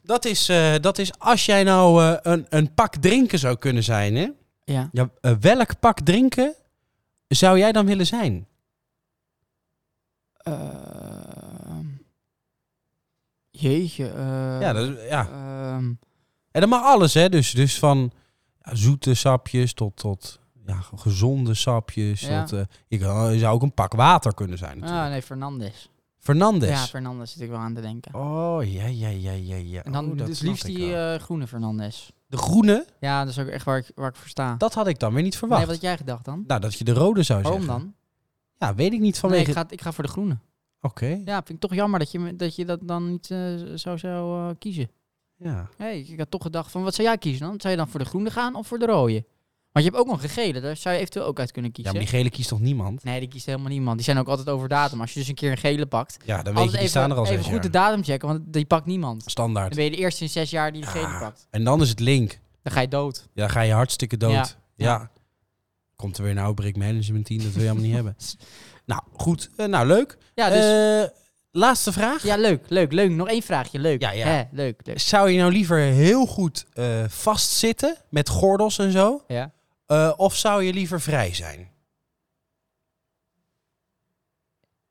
Speaker 1: Dat, is, eh, dat is als jij nou eh, een, een pak drinken zou kunnen zijn, hè?
Speaker 2: Ja.
Speaker 1: Ja, eh, welk pak drinken zou jij dan willen zijn?
Speaker 2: Ehm. jeetje. eh,
Speaker 1: Ja, dat, is- ja.
Speaker 2: ehm,
Speaker 1: En dat mag alles, hè? Dus, dus van ja, zoete sapjes tot, tot ja, ge- gezonde sapjes.
Speaker 2: Ja.
Speaker 1: Tot, eh, ik eh, je zou ook een pak water kunnen zijn natuurlijk.
Speaker 2: ah, nee, Fernandes.
Speaker 1: Fernandes.
Speaker 2: Ja, Fernandes zit ik wel aan te denken.
Speaker 1: oh, ja, ja, ja, ja. ja.
Speaker 2: en dan
Speaker 1: Oh, dat
Speaker 2: dus
Speaker 1: snap
Speaker 2: liefst
Speaker 1: ik
Speaker 2: die
Speaker 1: wel.
Speaker 2: eh, groene Fernandes.
Speaker 1: De groene,
Speaker 2: Ja, dat is ook echt waar ik, waar ik voor sta.
Speaker 1: dat had ik dan weer niet
Speaker 2: nee,
Speaker 1: verwacht.
Speaker 2: wat had jij gedacht dan?
Speaker 1: Nou, dat je de rode zou
Speaker 2: Waarom
Speaker 1: zeggen.
Speaker 2: dan?
Speaker 1: Ja, weet ik niet vanwege...
Speaker 2: Nee, ik, ga, ik ga voor de groene.
Speaker 1: Oké,
Speaker 2: Ja, vind ik toch jammer dat je me- dat, je dat dan niet eh, zo zou eh, kiezen.
Speaker 1: ja.
Speaker 2: Hey, ik had toch gedacht van, wat zou jij kiezen dan? Zou je dan voor de groene gaan of voor de rode? Want je hebt ook nog een gele, daar zou je eventueel ook uit kunnen
Speaker 1: Ja,
Speaker 2: kiezen.
Speaker 1: maar die gele kiest toch niemand?
Speaker 2: Nee, die kiest helemaal niemand. Die zijn ook altijd over datum. Als je dus een keer een gele pakt,
Speaker 1: Ja, dan weet je,
Speaker 2: altijd
Speaker 1: die
Speaker 2: even,
Speaker 1: staan er al
Speaker 2: even
Speaker 1: zes
Speaker 2: goed de
Speaker 1: jaar.
Speaker 2: datum checken, want die pakt niemand.
Speaker 1: Standaard.
Speaker 2: Dan ben je de eerste in zes jaar die de gele
Speaker 1: Ja.
Speaker 2: pakt.
Speaker 1: En dan is het link.
Speaker 2: Dan ga je dood.
Speaker 1: Ja, dan ga je hartstikke dood.
Speaker 2: Ja.
Speaker 1: Ja. Komt er weer een outbreak management team, dat wil je allemaal niet hebben. Nou, goed. Eh, nou, leuk.
Speaker 2: Ja, dus,
Speaker 1: Eh, laatste vraag.
Speaker 2: ja leuk, leuk, leuk. Nog één vraagje, leuk.
Speaker 1: Ja, ja.
Speaker 2: Hè, leuk, leuk.
Speaker 1: Zou je nou liever heel goed eh, vastzitten met gordels en zo?
Speaker 2: Ja.
Speaker 1: Eh, of zou je liever vrij zijn?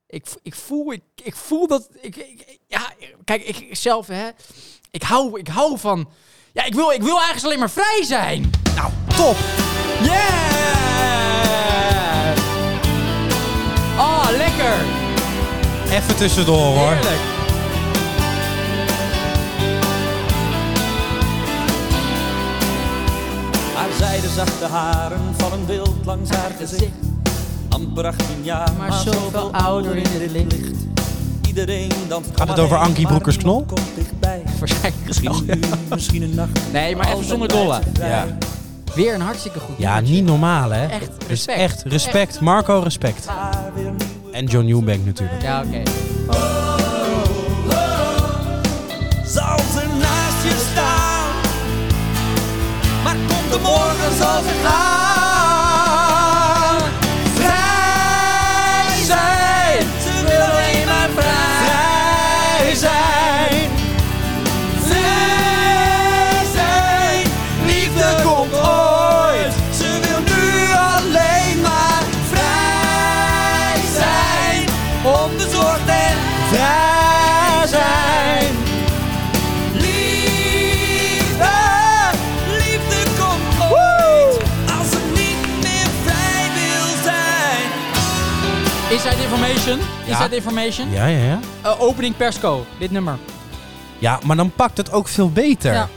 Speaker 2: Ik, vo- ik, voel, ik, ik voel dat. Ik, ik- ja, kijk, ik zelf, hè. Ik hou, ik hou van. Ja, ik wil, ik wil eigenlijk alleen maar vrij zijn.
Speaker 1: Nou, top!
Speaker 2: Yeah! Oh, lekker!
Speaker 1: Even tussendoor hoor.
Speaker 2: Heerlijk!
Speaker 3: Haar zijde zachte haren vallen wild langs haar gezicht. Amper 18 jaar,
Speaker 2: Maar zoveel ouder in het licht.
Speaker 3: Iedereen dan
Speaker 1: Gaat het over Ankie Broekers-Knol?
Speaker 3: Komt dichtbij.
Speaker 2: Waarschijnlijk
Speaker 3: Misschien een uur, misschien een nacht.
Speaker 2: Nee, maar even
Speaker 3: Altijd
Speaker 2: zonder
Speaker 3: blijft
Speaker 2: dolle.
Speaker 3: ze vrij.
Speaker 1: Ja.
Speaker 2: Weer een hartstikke goed
Speaker 1: ja,
Speaker 2: nummertje.
Speaker 1: niet normaal hè?
Speaker 2: Echt
Speaker 1: Dus
Speaker 2: respect. Ah.
Speaker 1: echt respect. Marco, respect.
Speaker 3: Haar weer nieuwe
Speaker 1: En John Newbank natuurlijk.
Speaker 2: Ja, oké.
Speaker 3: zal ze naast je staan. Maar komt de morgen zal ze gaan. Vrij zijn, ze wil alleen maar vrij zijn. Vrij zijn, liefde komt ooit. Ze wil nu alleen maar
Speaker 2: information?
Speaker 1: Ja.
Speaker 2: Is dat information?
Speaker 1: Ja, ja, ja.
Speaker 2: Eh, opening persco, dit nummer.
Speaker 1: Ja, maar dan pakt het ook veel beter.
Speaker 2: Ja.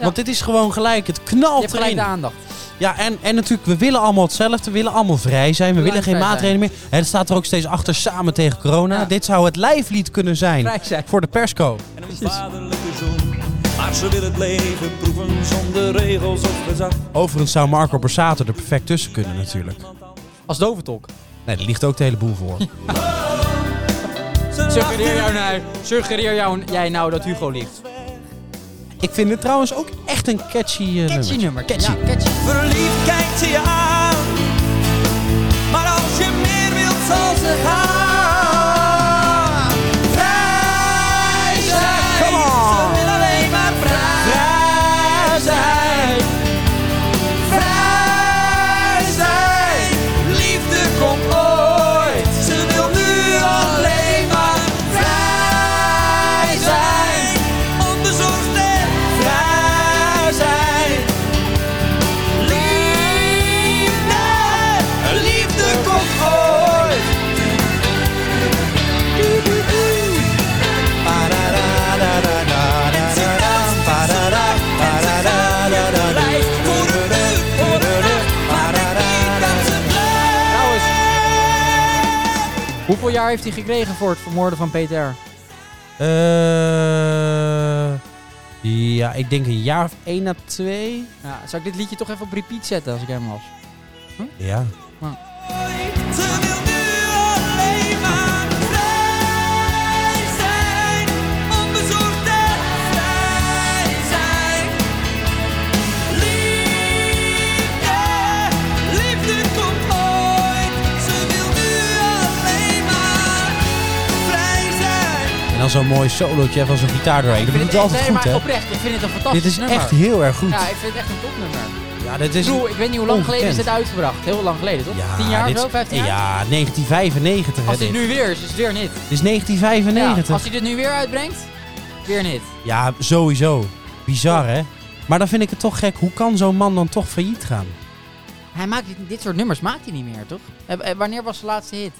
Speaker 1: Want dit is gewoon gelijk, het
Speaker 2: Je
Speaker 1: knalt
Speaker 2: hebt gelijk
Speaker 1: erin.
Speaker 2: de aandacht.
Speaker 1: Ja, en, en natuurlijk, we willen allemaal hetzelfde. We willen allemaal vrij zijn. We
Speaker 2: willen
Speaker 1: willen geen
Speaker 2: vrij
Speaker 1: maatregelen meer. En het staat er ook steeds achter, samen tegen corona.
Speaker 2: Ja.
Speaker 1: Dit zou het lijflied kunnen zijn
Speaker 2: Vrij zijn.
Speaker 1: voor de persco.
Speaker 3: en een vaderlijke zoon. Maar ze wil het leven proeven zonder regels of gezag.
Speaker 1: Overigens zou Marco Borsato er perfect tussen kunnen natuurlijk.
Speaker 2: Als doventok.
Speaker 1: Nee, daar ligt ook de hele boel voor.
Speaker 3: Ze
Speaker 2: Suggereer, jou
Speaker 3: lachten
Speaker 2: nou, suggereer jou, jij nou dat Hugo ligt.
Speaker 1: Ik vind het trouwens ook echt een catchy eh,
Speaker 2: Catchy
Speaker 1: nummer.
Speaker 2: nummer.
Speaker 1: Catchy.
Speaker 2: Ja, catchy.
Speaker 3: Verliefd kijkt ze je aan. Maar als je meer wilt, zal ze gaan. Vrij zijn.
Speaker 1: Come on.
Speaker 3: Ze wil alleen maar vrij, zijn. Vrij zijn. Liefde komt ooit. Ze wil nu alleen maar vrij zijn. Onbezorgd en vrij zijn. Liefde, liefde komt ooit. Blijft voor een uur, voor een nacht, maar ik weet dat ze blijft.
Speaker 2: Trouwens. Hoeveel jaar heeft hij gekregen voor het vermoorden van Peter?
Speaker 1: Eh, ja, ik denk een jaar of één à twee.
Speaker 2: Ja, zou ik dit liedje toch even op repeat zetten als ik hem was?
Speaker 1: Ja.
Speaker 3: Ze wil nu alleen maar vrij zijn, onbezorgd en vrij zijn. Liefde, liefde komt ooit. Ze wil nu alleen maar vrij zijn.
Speaker 1: En dan zo'n mooi solootje van zo'n gitaar doorheen. Dat doet het altijd
Speaker 2: nee,
Speaker 1: goed,
Speaker 2: maar
Speaker 1: hè?
Speaker 2: oprecht, ik vind het een fantastisch
Speaker 1: Dit is
Speaker 2: nummer.
Speaker 1: echt heel erg goed.
Speaker 2: Ja, ik vind het echt een topnummer.
Speaker 1: Ja, dit
Speaker 2: Ik
Speaker 1: is...
Speaker 2: bedoel, ik weet niet hoe lang geleden is dit
Speaker 1: ongekend.
Speaker 2: uitgebracht. Heel lang geleden, toch? 10 jaar
Speaker 1: dit-
Speaker 2: of zo? 15 jaar?
Speaker 1: Ja, 1995.
Speaker 2: Als
Speaker 1: hè,
Speaker 2: dit nu weer is, is het weer niet.
Speaker 1: Dit is 1995.
Speaker 2: als hij dit nu weer uitbrengt, weer niet.
Speaker 1: Ja, sowieso. Bizar, hè? Maar dan vind ik het toch gek. Hoe kan zo'n man dan toch failliet gaan?
Speaker 2: Hij maakt dit, dit soort nummers maakt hij niet meer, toch? Eh, eh, Wanneer was de laatste hit?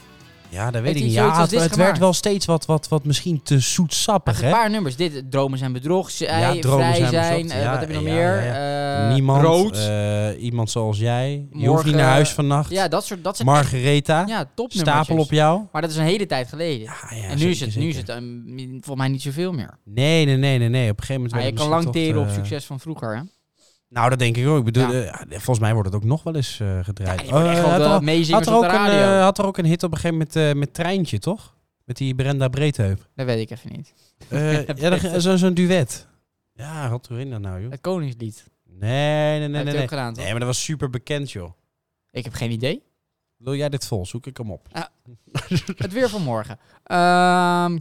Speaker 1: Ja, dat
Speaker 2: Heeft
Speaker 1: weet ik
Speaker 2: hij
Speaker 1: niet.
Speaker 2: zoiets
Speaker 1: Ja,
Speaker 2: als
Speaker 1: het,
Speaker 2: dit
Speaker 1: het werd
Speaker 2: gemaakt?
Speaker 1: wel steeds wat, wat, wat misschien te zoetsappig,
Speaker 2: Een
Speaker 1: hè?
Speaker 2: paar nummers. Dit, eh, Dromen zijn bedrog, zij,
Speaker 1: Ja, Dromen
Speaker 2: Vrij
Speaker 1: zijn
Speaker 2: zijn,
Speaker 1: Bedrog,
Speaker 2: eh,
Speaker 1: ja,
Speaker 2: wat heb je nog
Speaker 1: ja,
Speaker 2: meer?
Speaker 1: ja,
Speaker 2: Eh,
Speaker 1: Niemand.
Speaker 2: Rood.
Speaker 1: eh, iemand zoals jij. Je hoeft niet
Speaker 2: Morgen-
Speaker 1: naar huis vannacht.
Speaker 2: ja, dat soort dat zijn
Speaker 1: Margaretha.
Speaker 2: echt- ja, topnummers.
Speaker 1: stapel op jou.
Speaker 2: Maar dat is een hele tijd geleden.
Speaker 1: Ja, ja,
Speaker 2: en nu
Speaker 1: zeker,
Speaker 2: is het, nu is
Speaker 1: zeker.
Speaker 2: het eh, volgens mij niet zoveel meer.
Speaker 1: Nee, nee, nee, nee, nee. Op een gegeven moment...
Speaker 2: Maar
Speaker 1: werd
Speaker 2: Ah, je
Speaker 1: het
Speaker 2: kan lang
Speaker 1: misschien
Speaker 2: teren
Speaker 1: toch,
Speaker 2: op
Speaker 1: eh,
Speaker 2: succes van vroeger, hè?
Speaker 1: Nou, dat denk ik ook. Ik bedoel,
Speaker 2: Ja.
Speaker 1: eh, ja, volgens mij wordt het ook nog wel eens eh, gedraaid.
Speaker 2: Ja, je wordt
Speaker 1: Oh,
Speaker 2: echt wel
Speaker 1: had
Speaker 2: de
Speaker 1: er-
Speaker 2: meezingers
Speaker 1: had, er
Speaker 2: op de
Speaker 1: ook een,
Speaker 2: radio.
Speaker 1: eh, had er ook een hit op een gegeven moment eh, met Treintje, toch? Met die Brenda Breedheup.
Speaker 2: Dat weet ik even niet.
Speaker 1: Eh ja, dat- zo- zo'n duet. Ja, had erin dan nou, joh.
Speaker 2: Het Koningslied.
Speaker 1: Nee, nee,
Speaker 2: dat
Speaker 1: nee, nee.
Speaker 2: heb je
Speaker 1: Nee,
Speaker 2: ook gedaan, toch?
Speaker 1: nee maar dat was super bekend, joh.
Speaker 2: Ik heb geen idee.
Speaker 1: Wil jij dit vol? Zoek ik hem op.
Speaker 2: Het weer van morgen. Ehm,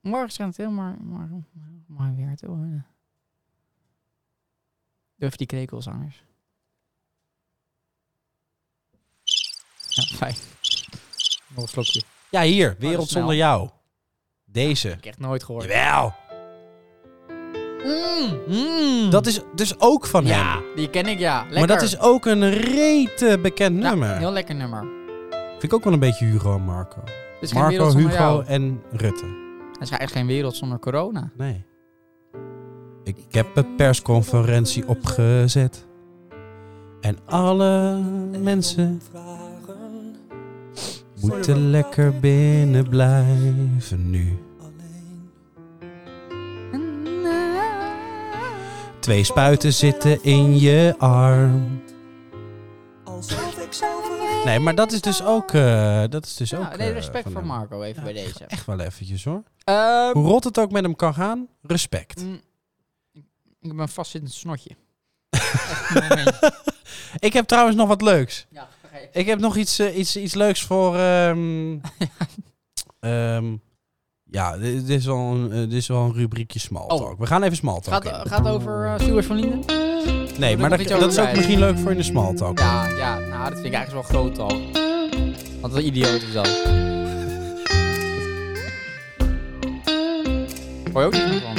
Speaker 2: morgen schijnt het heel mooi, morgen, mooi weer te worden. Doe even die krekels anders. Ja, fijn. Nog een slokje. Heb
Speaker 1: Ja, hier.
Speaker 2: dat
Speaker 1: Wereld
Speaker 2: is nou? snel.
Speaker 1: zonder jou. Deze.
Speaker 2: ik echt nooit gehoord.
Speaker 1: Jawel.
Speaker 2: Mm, mm.
Speaker 1: Dat is dus ook van hem.
Speaker 2: Ja, die ken ik, ja. Lekker.
Speaker 1: Maar dat is ook een rete bekend
Speaker 2: Ja,
Speaker 1: nummer.
Speaker 2: heel lekker nummer.
Speaker 1: Vind ik ook wel een beetje Hugo en Marco.
Speaker 2: Dus geen wereld
Speaker 1: Marco,
Speaker 2: zonder
Speaker 1: Hugo
Speaker 2: jou.
Speaker 1: en Rutte.
Speaker 2: Het is eigenlijk geen wereld zonder corona.
Speaker 1: Nee. Ik heb een persconferentie opgezet. En alle mensen
Speaker 3: Vragen
Speaker 1: moeten lekker binnen blijven nu.
Speaker 3: alleen.
Speaker 1: Twee spuiten zitten in je arm.
Speaker 3: Alsof ik zou vergeten.
Speaker 1: Nee, maar dat is dus ook... eh, dat is dus
Speaker 2: Ja,
Speaker 1: ook
Speaker 2: Nou, nee,
Speaker 1: eh,
Speaker 2: respect
Speaker 1: van
Speaker 2: voor
Speaker 1: hem.
Speaker 2: Marco even bij deze.
Speaker 1: Echt wel eventjes hoor.
Speaker 2: Ehm,
Speaker 1: Hoe rot het ook met hem kan gaan, respect.
Speaker 2: Mm, ik- ik heb een vastzittend snotje. Echt een momentje.
Speaker 1: Ik heb trouwens nog wat leuks.
Speaker 2: Ja, ga je-
Speaker 1: Ik heb nog iets, eh, iets, iets leuks voor. ehm, ehm, ja, di- dit is, wel een, eh, dit is wel een rubriekje small
Speaker 2: Oh.
Speaker 1: talk. We gaan even small talk.
Speaker 2: gaat,
Speaker 1: in.
Speaker 2: gaat over eh Stuart van Linden?
Speaker 1: nee,
Speaker 2: we nog
Speaker 1: maar dat,
Speaker 2: iets over
Speaker 1: dat is ook
Speaker 2: kwijt?
Speaker 1: misschien leuk voor in de small talk.
Speaker 2: Ja, ja, nou dat vind ik eigenlijk wel groot al. Want wat een idioot is dat. Hoor je ook niet meer van?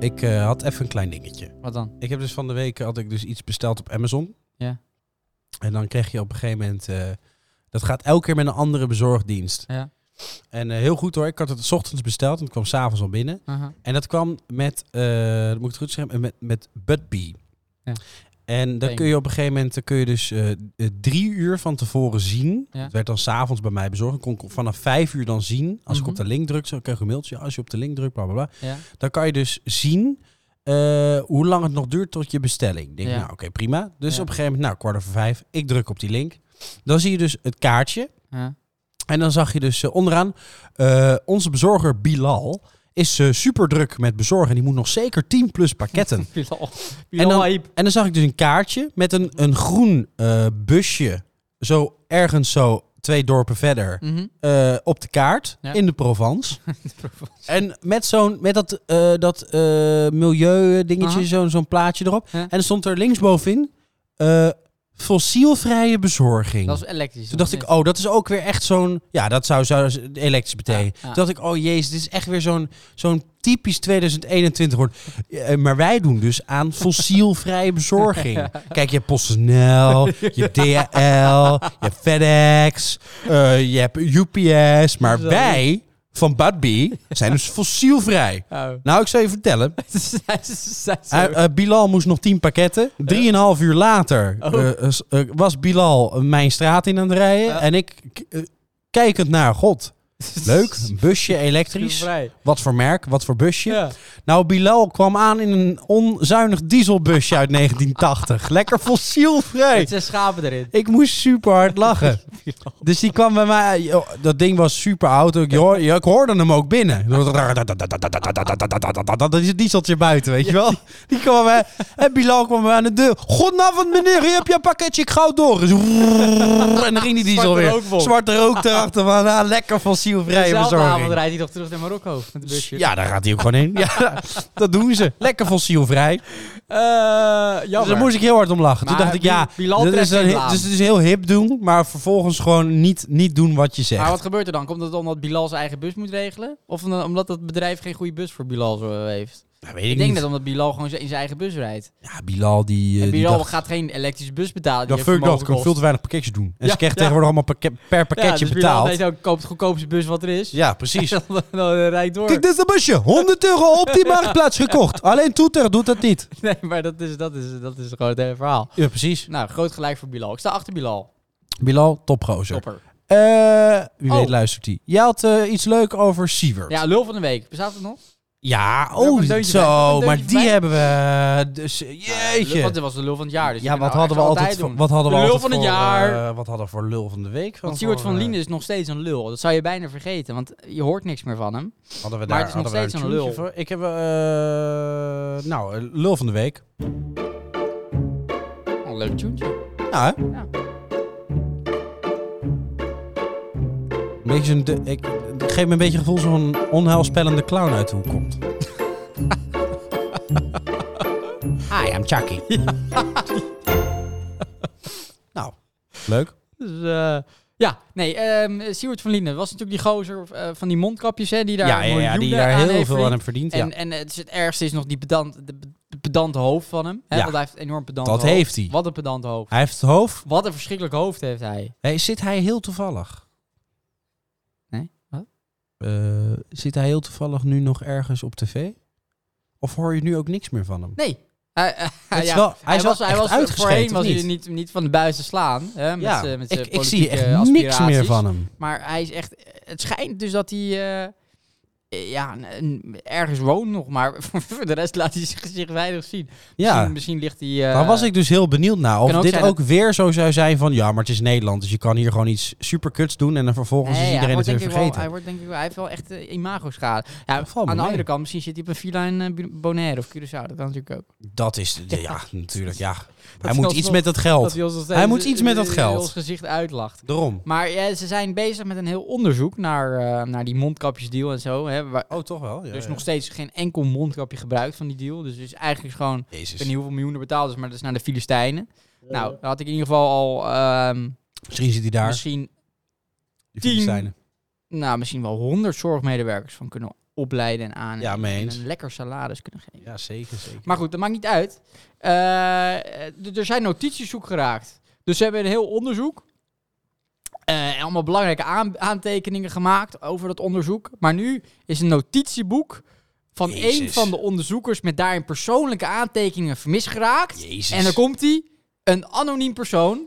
Speaker 1: Ik eh, had even een klein dingetje.
Speaker 2: Wat dan?
Speaker 1: Ik heb dus van de week had ik dus iets besteld op Amazon.
Speaker 2: Ja.
Speaker 1: En dan kreeg je op een gegeven moment... eh, dat gaat elke keer met een andere bezorgdienst.
Speaker 4: Ja.
Speaker 1: En eh, heel goed hoor. Ik had het 's ochtends besteld en het kwam s'avonds al binnen.
Speaker 4: Aha.
Speaker 1: En dat kwam met, eh, moet ik het goed zeggen, met, met Budbee.
Speaker 4: Ja.
Speaker 1: En dan
Speaker 4: Thank
Speaker 1: kun je op een gegeven moment, dan kun je dus eh, eh, drie uur van tevoren zien.
Speaker 4: Ja.
Speaker 1: Het werd dan s'avonds bij mij bezorgd. Ik kon ik vanaf vijf uur dan zien. Als ik
Speaker 4: Mhm.
Speaker 1: op de link druk, zo krijg je een mailtje. Als je op de link drukt, bla bla bla.
Speaker 4: Ja.
Speaker 1: Dan kan je dus zien eh, hoe lang het nog duurt tot je bestelling. Ik denk,
Speaker 4: Ja.
Speaker 1: nou oké, prima. Dus
Speaker 4: Ja.
Speaker 1: op een gegeven moment, nou kwart over vijf, ik druk op die link. Dan zie je dus het kaartje.
Speaker 4: Ja.
Speaker 1: En dan zag je dus eh, onderaan, eh, onze bezorger Bilal is super druk met bezorgen. Die moet nog zeker 10 plus pakketten.
Speaker 4: Bilal.
Speaker 1: En
Speaker 4: Bilal
Speaker 1: dan-
Speaker 4: Haïb.
Speaker 1: en dan zag ik dus een kaartje met een, een groen eh, busje. Zo ergens zo twee dorpen verder.
Speaker 4: Mhm.
Speaker 1: eh, op de kaart
Speaker 4: Ja.
Speaker 1: in de Provence. En met zo'n met dat, eh, dat eh, milieu dingetje,
Speaker 4: Aha.
Speaker 1: zo'n zo'n plaatje erop.
Speaker 4: Ja.
Speaker 1: En er stond er linksbovenin eh, fossielvrije bezorging.
Speaker 4: Dat is elektrisch.
Speaker 1: Toen dacht ik, oh, dat is ook weer echt zo'n... Ja, dat zou, zou elektrisch betekenen.
Speaker 4: Ja, ja.
Speaker 1: Toen dacht ik, oh jezus, dit is echt weer zo'n zo'n typisch 2021 woord. Eh, Maar wij doen dus aan fossielvrije bezorging. Kijk, je hebt PostNL, je hebt DHL, je hebt FedEx, eh, je hebt UPS. Maar
Speaker 4: Zo.
Speaker 1: wij van Budbee zijn dus fossielvrij.
Speaker 4: Oh.
Speaker 1: Nou, ik zou je vertellen.
Speaker 4: Zij- zij-
Speaker 1: eh,
Speaker 4: zij-
Speaker 1: eh, Bilal moest nog 10 pakketten. Drieënhalf uur later
Speaker 4: Oh.
Speaker 1: eh, eh, s- eh, was Bilal mijn straat in aan het rijden.
Speaker 4: Ja.
Speaker 1: En ik, k- eh, kijkend naar, god, leuk, een busje elektrisch.
Speaker 4: Vrij.
Speaker 1: Wat voor merk, wat voor busje.
Speaker 4: Ja.
Speaker 1: Nou, Bilal kwam aan in een onzuinig dieselbusje uit 1980. Lekker fossielvrij.
Speaker 4: Met zijn schapen erin.
Speaker 1: Ik moest super hard lachen. Dus die kwam bij mij. joh, dat ding was super oud. Ik, hoor- ja, ik hoorde hem ook binnen. Dat is het dieseltje buiten, weet je wel. Die kwam bij mij. En Bilal kwam bij mij aan de deur. Goedenavond meneer, hier heb je een pakketje, ik ga het door. En zo, En dan ging die diesel
Speaker 4: Zwarte
Speaker 1: weer.
Speaker 4: rookwolk.
Speaker 1: Zwarte rook erachter. Maar, nou, lekker fossielvrije
Speaker 4: Dezelfde avond
Speaker 1: bezorging.
Speaker 4: rijdt hij toch terug naar Marokko met een busje.
Speaker 1: Ja, daar gaat hij ook gewoon in. Ja, dat doen ze. Lekker fossielvrij.
Speaker 4: Eh,
Speaker 1: Dus
Speaker 4: jammer.
Speaker 1: daar moest ik heel hard om lachen. Toen
Speaker 4: Maar
Speaker 1: dacht ik, ja,
Speaker 4: Bilal
Speaker 1: dat is
Speaker 4: trekt
Speaker 1: dan
Speaker 4: geen
Speaker 1: hi-
Speaker 4: blaam.
Speaker 1: dus het is heel hip doen, maar vervolgens gewoon niet, niet doen wat je zegt.
Speaker 4: Maar wat gebeurt er dan? Komt het omdat Bilal zijn eigen bus moet regelen? Of omdat- omdat dat bedrijf geen goede bus voor Bilal zo heeft?
Speaker 1: Ja, Nou, weet ik,
Speaker 4: Ik denk
Speaker 1: niet.
Speaker 4: dat omdat Bilal gewoon in zijn eigen bus rijdt.
Speaker 1: Ja, Bilal die, eh,
Speaker 4: en
Speaker 1: die
Speaker 4: Bilal
Speaker 1: dacht,
Speaker 4: gaat geen elektrische bus betalen.
Speaker 1: ja,
Speaker 4: Die
Speaker 1: fuck dat, ik kan veel te weinig pakketjes doen. En
Speaker 4: Ja,
Speaker 1: ze krijgen
Speaker 4: ja. dus
Speaker 1: tegenwoordig allemaal pakke- per pakketje
Speaker 4: Bilal
Speaker 1: betaald.
Speaker 4: weet ook, koopt de goedkoopste bus wat er is.
Speaker 1: Ja, precies.
Speaker 4: Dan, dan, eh, rijdt door.
Speaker 1: Kijk, dit is de busje. 100 euro op die marktplaats gekocht. Alleen Toeter doet dat niet.
Speaker 4: Nee, maar dat is, dat, is, dat is gewoon het hele verhaal.
Speaker 1: Ja, precies.
Speaker 4: Nou, groot gelijk voor Bilal. Ik sta achter Bilal.
Speaker 1: Bilal, topgozer.
Speaker 4: Topper.
Speaker 1: Eh wie
Speaker 4: Oh.
Speaker 1: weet luistert hij. Jij had eh, iets leuk over Sievert.
Speaker 4: Ja, lul van de week. Bestaat het nog?
Speaker 1: Ja,
Speaker 4: Nog
Speaker 1: oh,
Speaker 4: een deuntje bij, nog
Speaker 1: zo.
Speaker 4: een
Speaker 1: Maar
Speaker 4: deuntje
Speaker 1: die
Speaker 4: bij.
Speaker 1: hebben we... Dus, jeetje.
Speaker 4: Ja, want dit was de lul van het jaar. Dus
Speaker 1: ja,
Speaker 4: je kan
Speaker 1: wat
Speaker 4: nou
Speaker 1: hadden we
Speaker 4: echt
Speaker 1: altijd, voor,
Speaker 4: doen.
Speaker 1: wat hadden we
Speaker 4: De lul
Speaker 1: altijd
Speaker 4: van het
Speaker 1: voor,
Speaker 4: jaar.
Speaker 1: eh, wat hadden we voor lul van de week? Wat
Speaker 4: Want Stuart
Speaker 1: voor,
Speaker 4: van
Speaker 1: eh,
Speaker 4: Lien is nog steeds een lul. Dat zou je bijna vergeten, want je hoort niks meer van hem.
Speaker 1: Hadden we
Speaker 4: Maar
Speaker 1: daar,
Speaker 4: het is nog
Speaker 1: hadden we
Speaker 4: steeds
Speaker 1: daar
Speaker 4: een
Speaker 1: tuentje
Speaker 4: lul.
Speaker 1: voor? Ik heb, eh, nou, eh, lul van de week.
Speaker 4: Oh, een leuk tuentje.
Speaker 1: Ja, Nou, hè?
Speaker 4: Ja.
Speaker 1: Een beetje zo'n de- ik, het geeft me een beetje het gevoel zo'n onheilspellende clown uit de hoek komt. Hi, I'm Chucky. nou, leuk.
Speaker 4: Dus, eh, ja, nee, ehm Stuart van Lien dat was natuurlijk die gozer eh, van die mondkapjes, hè, die daar
Speaker 1: ja, ja, ja, die
Speaker 4: miljoenen
Speaker 1: daar
Speaker 4: aan
Speaker 1: heel
Speaker 4: heeft
Speaker 1: veel aan hem verdient.
Speaker 4: verdiend. En,
Speaker 1: ja.
Speaker 4: en het, is het ergste is nog die pedant, de, de pedante hoofd van hem. Hè,
Speaker 1: Ja.
Speaker 4: Want hij heeft een enorm pedant
Speaker 1: Dat
Speaker 4: hoofd.
Speaker 1: heeft hij.
Speaker 4: Wat een pedant hoofd.
Speaker 1: Hij heeft het hoofd.
Speaker 4: Wat een verschrikkelijk hoofd heeft hij.
Speaker 1: Hey, zit hij heel toevallig?
Speaker 4: Nee, wat?
Speaker 1: Eh, zit hij heel toevallig nu nog ergens op tv? Of hoor je nu ook niks meer van hem?
Speaker 4: Nee. Hij, eh,
Speaker 1: Het is
Speaker 4: ja,
Speaker 1: wel- hij is wel
Speaker 4: was, hij
Speaker 1: echt
Speaker 4: was eh,
Speaker 1: uitgeschreven,
Speaker 4: voorheen was
Speaker 1: of
Speaker 4: hij
Speaker 1: niet?
Speaker 4: niet, niet van de buis te slaan. Hè, met
Speaker 1: ja,
Speaker 4: z'n- met z'n
Speaker 1: ik, ik zie echt
Speaker 4: politieke
Speaker 1: niks meer
Speaker 4: aspiraties.
Speaker 1: van hem.
Speaker 4: Maar hij is echt. Het schijnt dus dat hij. eh, eh, ja, een- een- ergens woont nog, maar voor de rest laat hij zich, zich weinig zien.
Speaker 1: Ja,
Speaker 4: Misschien, misschien ligt hij. eh,
Speaker 1: daar was ik dus heel benieuwd naar. Of
Speaker 4: kan ook
Speaker 1: dit
Speaker 4: zijn
Speaker 1: ook weer zo zou zijn van... Ja, maar het is Nederland, dus je kan hier gewoon iets superkuts doen... en dan vervolgens
Speaker 4: Nee,
Speaker 1: is iedereen het
Speaker 4: wordt
Speaker 1: weer
Speaker 4: denk ik wel-
Speaker 1: vergeten.
Speaker 4: hij wordt denk ik wel, hij heeft wel echt eh, imago-schade. Ja,
Speaker 1: Dat valt me
Speaker 4: aan de
Speaker 1: mee.
Speaker 4: andere kant, misschien zit hij op een villa in eh, Bu- Bonaire of Curaçao. Dat kan natuurlijk ook.
Speaker 1: Dat is... Ja, natuurlijk, ja. Hij
Speaker 4: is
Speaker 1: moet
Speaker 4: wel
Speaker 1: iets
Speaker 4: nog-
Speaker 1: met dat
Speaker 4: Dat
Speaker 1: geld.
Speaker 4: ons nog
Speaker 1: Hij moet iets met dat
Speaker 4: eh,
Speaker 1: geld.
Speaker 4: ons gezicht uitlacht.
Speaker 1: Daarom.
Speaker 4: Maar ja, ze zijn bezig met een heel onderzoek naar, eh, naar die mondkapjesdeal en zo. Hè, waar
Speaker 1: Oh, toch wel? Ja,
Speaker 4: dus
Speaker 1: ja.
Speaker 4: nog steeds geen enkel mondkapje gebruikt van die deal. Dus het is eigenlijk gewoon Ik
Speaker 1: Jezus.
Speaker 4: weet niet hoeveel miljoenen betaald is, maar dat is naar de Filistijnen.
Speaker 1: Eh.
Speaker 4: Nou, dan had ik in ieder geval al ehm,
Speaker 1: Misschien zit hij daar.
Speaker 4: misschien,
Speaker 1: Die
Speaker 4: tien-
Speaker 1: Filistijnen.
Speaker 4: nou, misschien wel honderd zorgmedewerkers van kunnen opleiden en aan.
Speaker 1: Ja, mee eens.
Speaker 4: En een lekker salaris kunnen geven.
Speaker 1: Ja, zeker, zeker.
Speaker 4: Maar goed, dat maakt niet uit. Eh, d- er zijn notities zoek geraakt. Dus ze hebben een heel onderzoek. eh, en allemaal belangrijke aan- aantekeningen gemaakt over dat onderzoek. Maar nu is een notitieboek van
Speaker 1: Jezus.
Speaker 4: één van de onderzoekers met daarin persoonlijke aantekeningen vermist geraakt.
Speaker 1: Jezus.
Speaker 4: En dan komt hij. Een anoniem persoon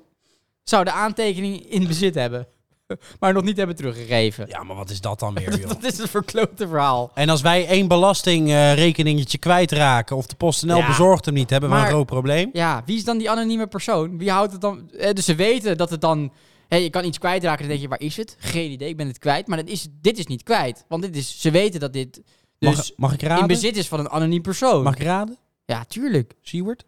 Speaker 4: zou de aantekening in bezit hebben. Maar nog niet hebben teruggegeven.
Speaker 1: Ja, maar wat is dat dan weer, joh?
Speaker 4: Dat is een verklote verhaal.
Speaker 1: En als wij één belastingrekeningetje kwijtraken of de PostNL
Speaker 4: Ja.
Speaker 1: bezorgt hem niet, hebben we
Speaker 4: Maar-
Speaker 1: een groot probleem.
Speaker 4: Ja, wie is dan die anonieme persoon? Wie houdt het dan? eh, dus ze weten dat het dan. Hé, je kan iets kwijtraken. Dan denk je, waar is het? Geen idee, ik ben het kwijt. Maar dat is, dit is niet kwijt. Want dit is, ze weten dat dit
Speaker 1: Mag,
Speaker 4: dus
Speaker 1: mag ik
Speaker 4: in
Speaker 1: raden?
Speaker 4: bezit is van een anoniem persoon.
Speaker 1: Mag ik raden?
Speaker 4: Ja, tuurlijk.
Speaker 1: Seward?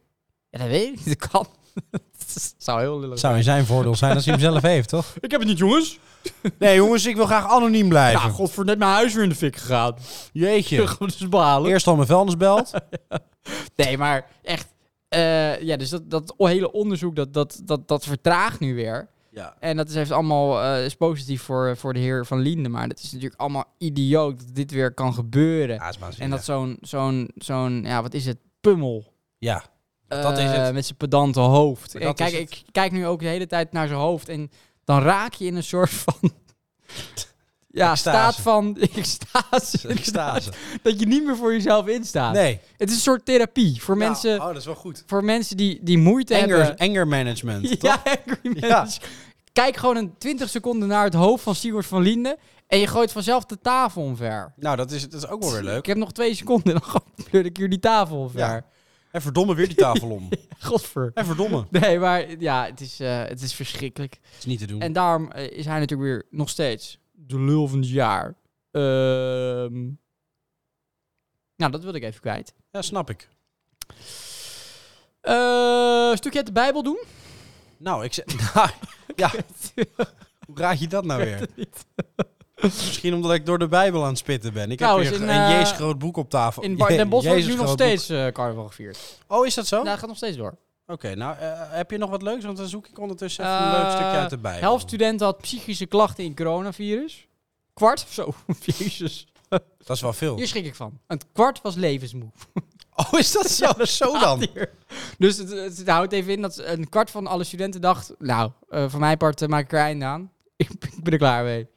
Speaker 4: Ja, dat weet ik niet. Dat kan. Dat zou heel lullig
Speaker 1: Zou in zijn voordeel zijn als hij hem zelf heeft, toch?
Speaker 4: Ik heb het niet, jongens.
Speaker 1: Nee, jongens, ik wil graag anoniem blijven.
Speaker 4: Ja, godver, net mijn huis weer in de fik gegaan.
Speaker 1: Jeetje.
Speaker 4: Gewoon dus behalen.
Speaker 1: Eerst al mijn vuilnisbelt.
Speaker 4: Nee, maar echt. eh, ja, dus dat, dat hele onderzoek, dat, dat, dat, dat vertraagt nu weer.
Speaker 1: Ja.
Speaker 4: En dat is even allemaal eh, is positief voor, voor de heer Van Linden. Maar dat is natuurlijk allemaal idioot dat dit weer kan gebeuren.
Speaker 1: is waanzinnig.
Speaker 4: en dat zo'n, zo'n, zo'n, ja, wat is het? Pummel.
Speaker 1: Ja. Dat
Speaker 4: Eh,
Speaker 1: is het.
Speaker 4: Met zijn pedante hoofd.
Speaker 1: Dat
Speaker 4: En kijk,
Speaker 1: is
Speaker 4: ik kijk nu ook de hele tijd naar zijn hoofd. En dan raak je in een soort van... ja,
Speaker 1: Extase.
Speaker 4: staat van... extase.
Speaker 1: Extase.
Speaker 4: Dat je niet meer voor jezelf instaat.
Speaker 1: Nee.
Speaker 4: Het is een soort therapie voor
Speaker 1: Ja,
Speaker 4: mensen...
Speaker 1: Oh, dat is wel goed.
Speaker 4: Voor mensen die, die moeite hebben...
Speaker 1: Anger, anger management.
Speaker 4: Ja, angry
Speaker 1: Ja.
Speaker 4: manage. Kijk gewoon een 20 seconden naar het hoofd van Sigurd van Linden. En je gooit vanzelf de tafel omver.
Speaker 1: Nou, dat is, dat is ook wel weer
Speaker 4: Ik
Speaker 1: leuk.
Speaker 4: heb nog twee seconden en dan pleur ik hier die tafel omver.
Speaker 1: En verdomme weer die tafel om.
Speaker 4: Godver.
Speaker 1: En verdomme.
Speaker 4: Nee, maar ja, het is, eh, het is verschrikkelijk.
Speaker 1: Dat is niet te doen.
Speaker 4: En daarom eh, is hij natuurlijk weer nog steeds de lul van het jaar. Ehm, nou, dat wilde ik even kwijt.
Speaker 1: Ja, snap ik.
Speaker 4: Eh, Een stukje uit de Bijbel doen?
Speaker 1: Nou, ik zeg... Nou, ja. Hoe raad je dat nou weer? Misschien omdat ik door de Bijbel aan het spitten ben. Ik
Speaker 4: Trouwens,
Speaker 1: heb hier
Speaker 4: in,
Speaker 1: een
Speaker 4: eh,
Speaker 1: Jezus groot boek op tafel.
Speaker 4: In Bar-
Speaker 1: Je-
Speaker 4: Den Bosch wordt
Speaker 1: Jezus
Speaker 4: nu nog
Speaker 1: groot boek.
Speaker 4: steeds eh carnaval gevierd.
Speaker 1: Oh, is dat zo?
Speaker 4: Nou, dat gaat nog steeds door.
Speaker 1: Oké, nou eh, heb je nog wat leuks? Want dan zoek ik ondertussen even
Speaker 4: Eh,
Speaker 1: een leuk stukje uit de Bijbel.
Speaker 4: Helft studenten had psychische klachten in coronavirus. Kwart, zo, jezus.
Speaker 1: Dat is wel veel.
Speaker 4: Hier schrik ik van. Een kwart was levensmoe.
Speaker 1: Oh, is dat zo? zo dan.
Speaker 4: Hier. Dus het, het, het houdt even in dat een kwart van alle studenten dacht... Nou, eh voor mijn part eh, maak ik er einde aan. ik, ben er klaar mee.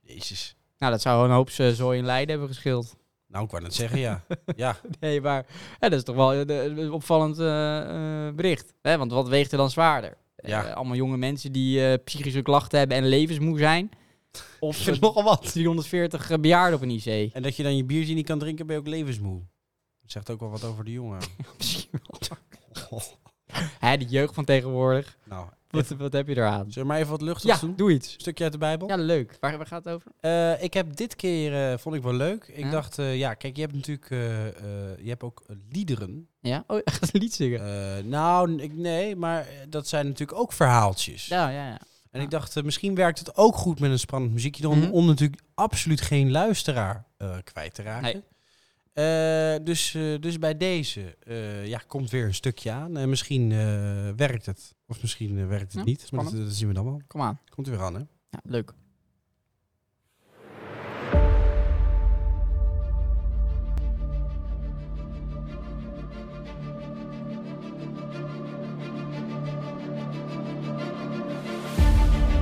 Speaker 1: Jezus.
Speaker 4: Nou, dat zou een hoop eh, zooi in Leiden hebben geschild.
Speaker 1: Nou, ik wou net zeggen, ja. ja.
Speaker 4: Nee, maar ja, dat is toch wel eh, de- een opvallend eh, eh, bericht. Hè? Want wat weegt er dan zwaarder?
Speaker 1: Ja.
Speaker 4: Eh, allemaal jonge mensen die eh, psychische klachten hebben en levensmoe zijn. Of eh,
Speaker 1: nogal wat.
Speaker 4: 340 bejaarden op een IC.
Speaker 1: En dat je dan je biertje niet kan drinken, ben je ook levensmoe. Dat zegt ook wel wat over de jongen.
Speaker 4: Misschien wel. Hè, die jeugd van tegenwoordig.
Speaker 1: nou,
Speaker 4: Wat, wat heb je eraan?
Speaker 1: zullen we maar even wat luchtigs
Speaker 4: Ja,
Speaker 1: doen?
Speaker 4: doe iets.
Speaker 1: Stukje uit de Bijbel.
Speaker 4: Ja, leuk. Waar, waar gaat het over?
Speaker 1: Eh, ik heb dit keer, eh, vond ik wel leuk. Ik
Speaker 4: Ja?
Speaker 1: dacht, eh, ja, kijk, je hebt natuurlijk, eh, eh, je hebt ook eh, liederen.
Speaker 4: Ja? Oh, gaat een lied zingen.
Speaker 1: Eh, nou, n- ik, nee, maar eh, dat zijn natuurlijk ook verhaaltjes.
Speaker 4: Ja, ja, ja.
Speaker 1: En ik dacht, eh, misschien werkt het ook goed met een spannend muziekje. Dan
Speaker 4: Mhm.
Speaker 1: Om natuurlijk absoluut geen luisteraar eh, kwijt te raken.
Speaker 4: Nee.
Speaker 1: Eh, dus, eh, dus bij deze eh, ja, komt weer een stukje aan. En misschien eh, werkt het. Of misschien eh, werkt het
Speaker 4: Ja,
Speaker 1: niet. Maar dat,
Speaker 4: spannend.
Speaker 1: dat zien we dan wel.
Speaker 4: Kom aan.
Speaker 1: Komt er weer aan, hè?
Speaker 4: Ja, leuk.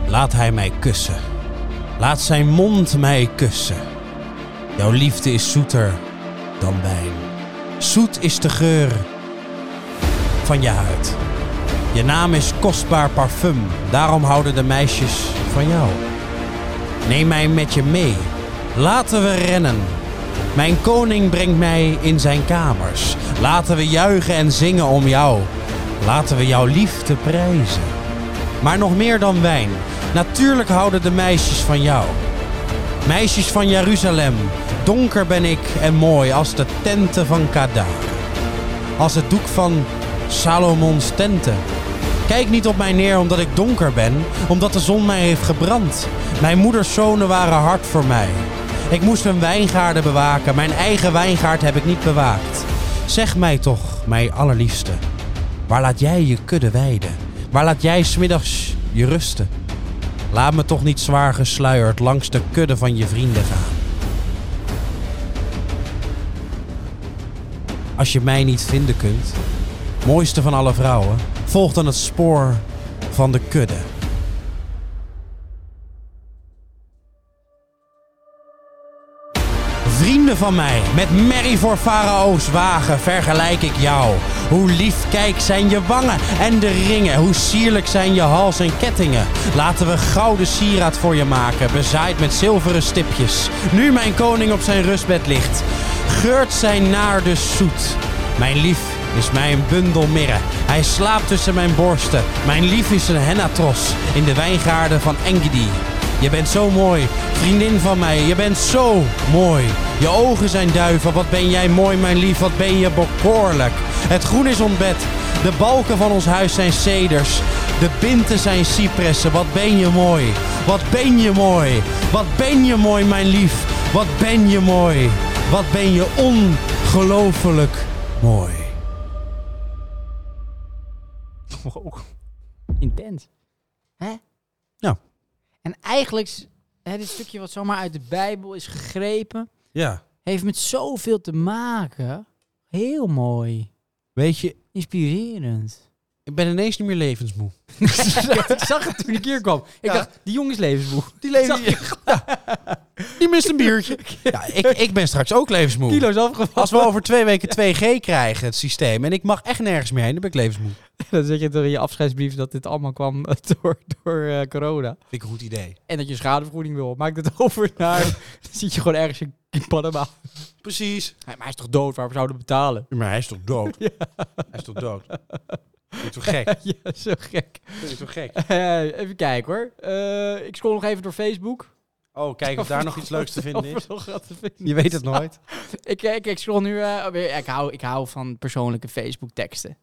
Speaker 1: Laat hij mij kussen. Laat zijn mond mij kussen. Jouw liefde is zoeter dan wijn. Zoet is de geur van je huid. Je naam is kostbaar parfum, daarom houden de meisjes van jou. Neem mij met je mee, laten we rennen. Mijn koning brengt mij in zijn kamers. Laten we juichen en zingen om jou. Laten we jouw liefde prijzen maar nog meer dan wijn. Natuurlijk houden de meisjes van jou. Meisjes van Jeruzalem, donker ben ik en mooi als de tenten van Kadar. Als het doek van Salomons tenten. Kijk niet op mij neer omdat ik donker ben, omdat de zon mij heeft gebrand. Mijn moeders zonen waren hard voor mij. Ik moest hun wijngaarden bewaken, mijn eigen wijngaard heb ik niet bewaakt. Zeg mij toch, mijn allerliefste, Waar laat jij je kudde weiden? Waar laat jij smiddags je rusten? Laat me toch niet zwaar gesluierd langs de kudde van je vrienden gaan. Als je mij niet vinden kunt, mooiste van alle vrouwen, volg dan het spoor van de kudde. Vrienden van mij, met merrie voor Farao's wagen vergelijk ik jou. Hoe lief kijk zijn je wangen en de ringen, hoe sierlijk zijn je hals en kettingen. Laten we gouden sieraad voor je maken, bezaaid met zilveren stipjes. Nu mijn koning op zijn rustbed ligt, geurt zijn naar de zoet. Mijn lief is mijn bundel mirre. Hij slaapt tussen mijn borsten. Mijn lief is een hennatros in de wijngaarden van Engedi. Je bent zo mooi, vriendin van mij. Je bent zo mooi. Je ogen zijn duiven. Wat ben jij mooi, mijn lief. Wat ben je bekoorlijk. Het groen is ontbed. De balken van ons huis zijn ceders. De binten zijn cypressen. Wat ben je mooi. Wat ben je mooi. Wat ben je mooi, mijn lief. Wat ben je mooi. Wat ben je ongelooflijk mooi.
Speaker 4: Wow. Intens. Hè?
Speaker 1: Ja.
Speaker 4: En eigenlijk, s- hè, dit stukje wat zomaar uit de Bijbel is gegrepen,
Speaker 1: Ja.
Speaker 4: heeft met zoveel te maken. Heel mooi.
Speaker 1: Weet je,
Speaker 4: Inspirerend.
Speaker 1: ik ben ineens niet meer levensmoe.
Speaker 4: ik zag het toen ik hier kwam. Ik
Speaker 1: Ja.
Speaker 4: dacht, die jongen is levensmoe.
Speaker 1: Die
Speaker 4: leven
Speaker 1: Die mist een biertje. Ja, ik, ik ben straks ook levensmoe.
Speaker 4: Kilo's afgevallen.
Speaker 1: Als we over twee weken 2G krijgen, het systeem, en ik mag echt nergens meer heen, dan ben ik levensmoe.
Speaker 4: Dan zeg je toch in je afscheidsbrief dat dit allemaal kwam eh, door, door eh, corona.
Speaker 1: Vind ik een goed idee.
Speaker 4: En dat je schadevergoeding wil. Maak het over naar... dan zit je gewoon ergens in Panama.
Speaker 1: Precies.
Speaker 4: Ja, maar hij is toch dood? Waarom zouden we betalen?
Speaker 1: Maar hij is toch dood? Hij is toch dood? Vind je toch gek?
Speaker 4: ja, zo gek.
Speaker 1: Vind je toch gek?
Speaker 4: Eh, even kijken hoor. Eh, ik scroll nog even door Facebook.
Speaker 1: Oh, kijk of daar nog iets leuks te vinden
Speaker 4: Of
Speaker 1: is.
Speaker 4: er nog wat te vinden
Speaker 1: Je weet
Speaker 4: is.
Speaker 1: het nooit.
Speaker 4: ik, ik, ik scroll nu... eh, weer- ik, hou, ik hou van persoonlijke Facebook teksten.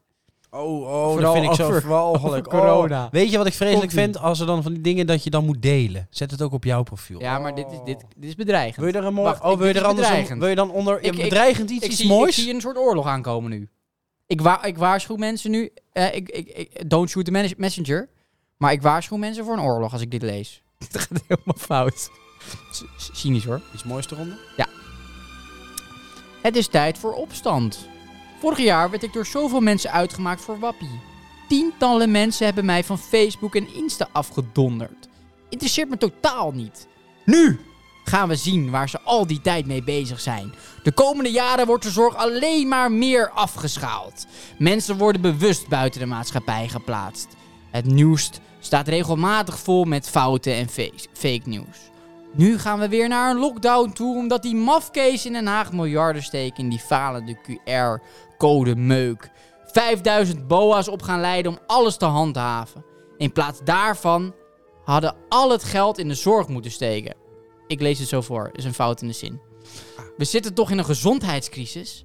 Speaker 1: Oh, oh,
Speaker 4: Vooral
Speaker 1: dat vind ik zo
Speaker 4: over-
Speaker 1: walgelijk.
Speaker 4: over corona.
Speaker 1: Oh, weet je wat ik vreselijk
Speaker 4: Komt-ie.
Speaker 1: vind? Als er dan van die dingen dat je dan moet delen. Zet het ook op jouw profiel.
Speaker 4: Ja, maar dit is, dit, dit is bedreigend.
Speaker 1: Wil je er een mooi...
Speaker 4: Wacht,
Speaker 1: oh,
Speaker 4: ik-
Speaker 1: wil je
Speaker 4: dit
Speaker 1: er
Speaker 4: is
Speaker 1: anders... een-
Speaker 4: bedreigend.
Speaker 1: Wil je dan onder...
Speaker 4: Ik- ik-
Speaker 1: bedreigend iets,
Speaker 4: ik,
Speaker 1: iets
Speaker 4: zie,
Speaker 1: moois?
Speaker 4: ik zie een soort oorlog aankomen nu. Ik, wa ik waarschuw mensen nu. eh, ik, ik, ik, don't shoot the mes- messenger. Maar ik waarschuw mensen voor een oorlog als ik dit lees. Het gaat helemaal fout. C- c- Cynisch hoor.
Speaker 1: Iets moois eronder?
Speaker 4: Het is tijd voor opstand. Vorig jaar werd ik door zoveel mensen uitgemaakt voor wappie. Tientallen mensen hebben mij van Facebook en Insta afgedonderd. Interesseert me totaal niet. Nu gaan we zien waar ze al die tijd mee bezig zijn. De komende jaren wordt de zorg alleen maar meer afgeschaald. Mensen worden bewust buiten de maatschappij geplaatst. Het nieuws staat regelmatig vol met fouten en fe- fake news. Nu gaan we weer naar een lockdown toe omdat die mafkees in Den Haag miljarden steken in die falende QR-code meuk. 5000 boa's op gaan leiden om alles te handhaven. In plaats daarvan hadden al het geld in de zorg moeten steken. Ik lees het zo voor, is een fout in de zin. We zitten toch in een gezondheidscrisis?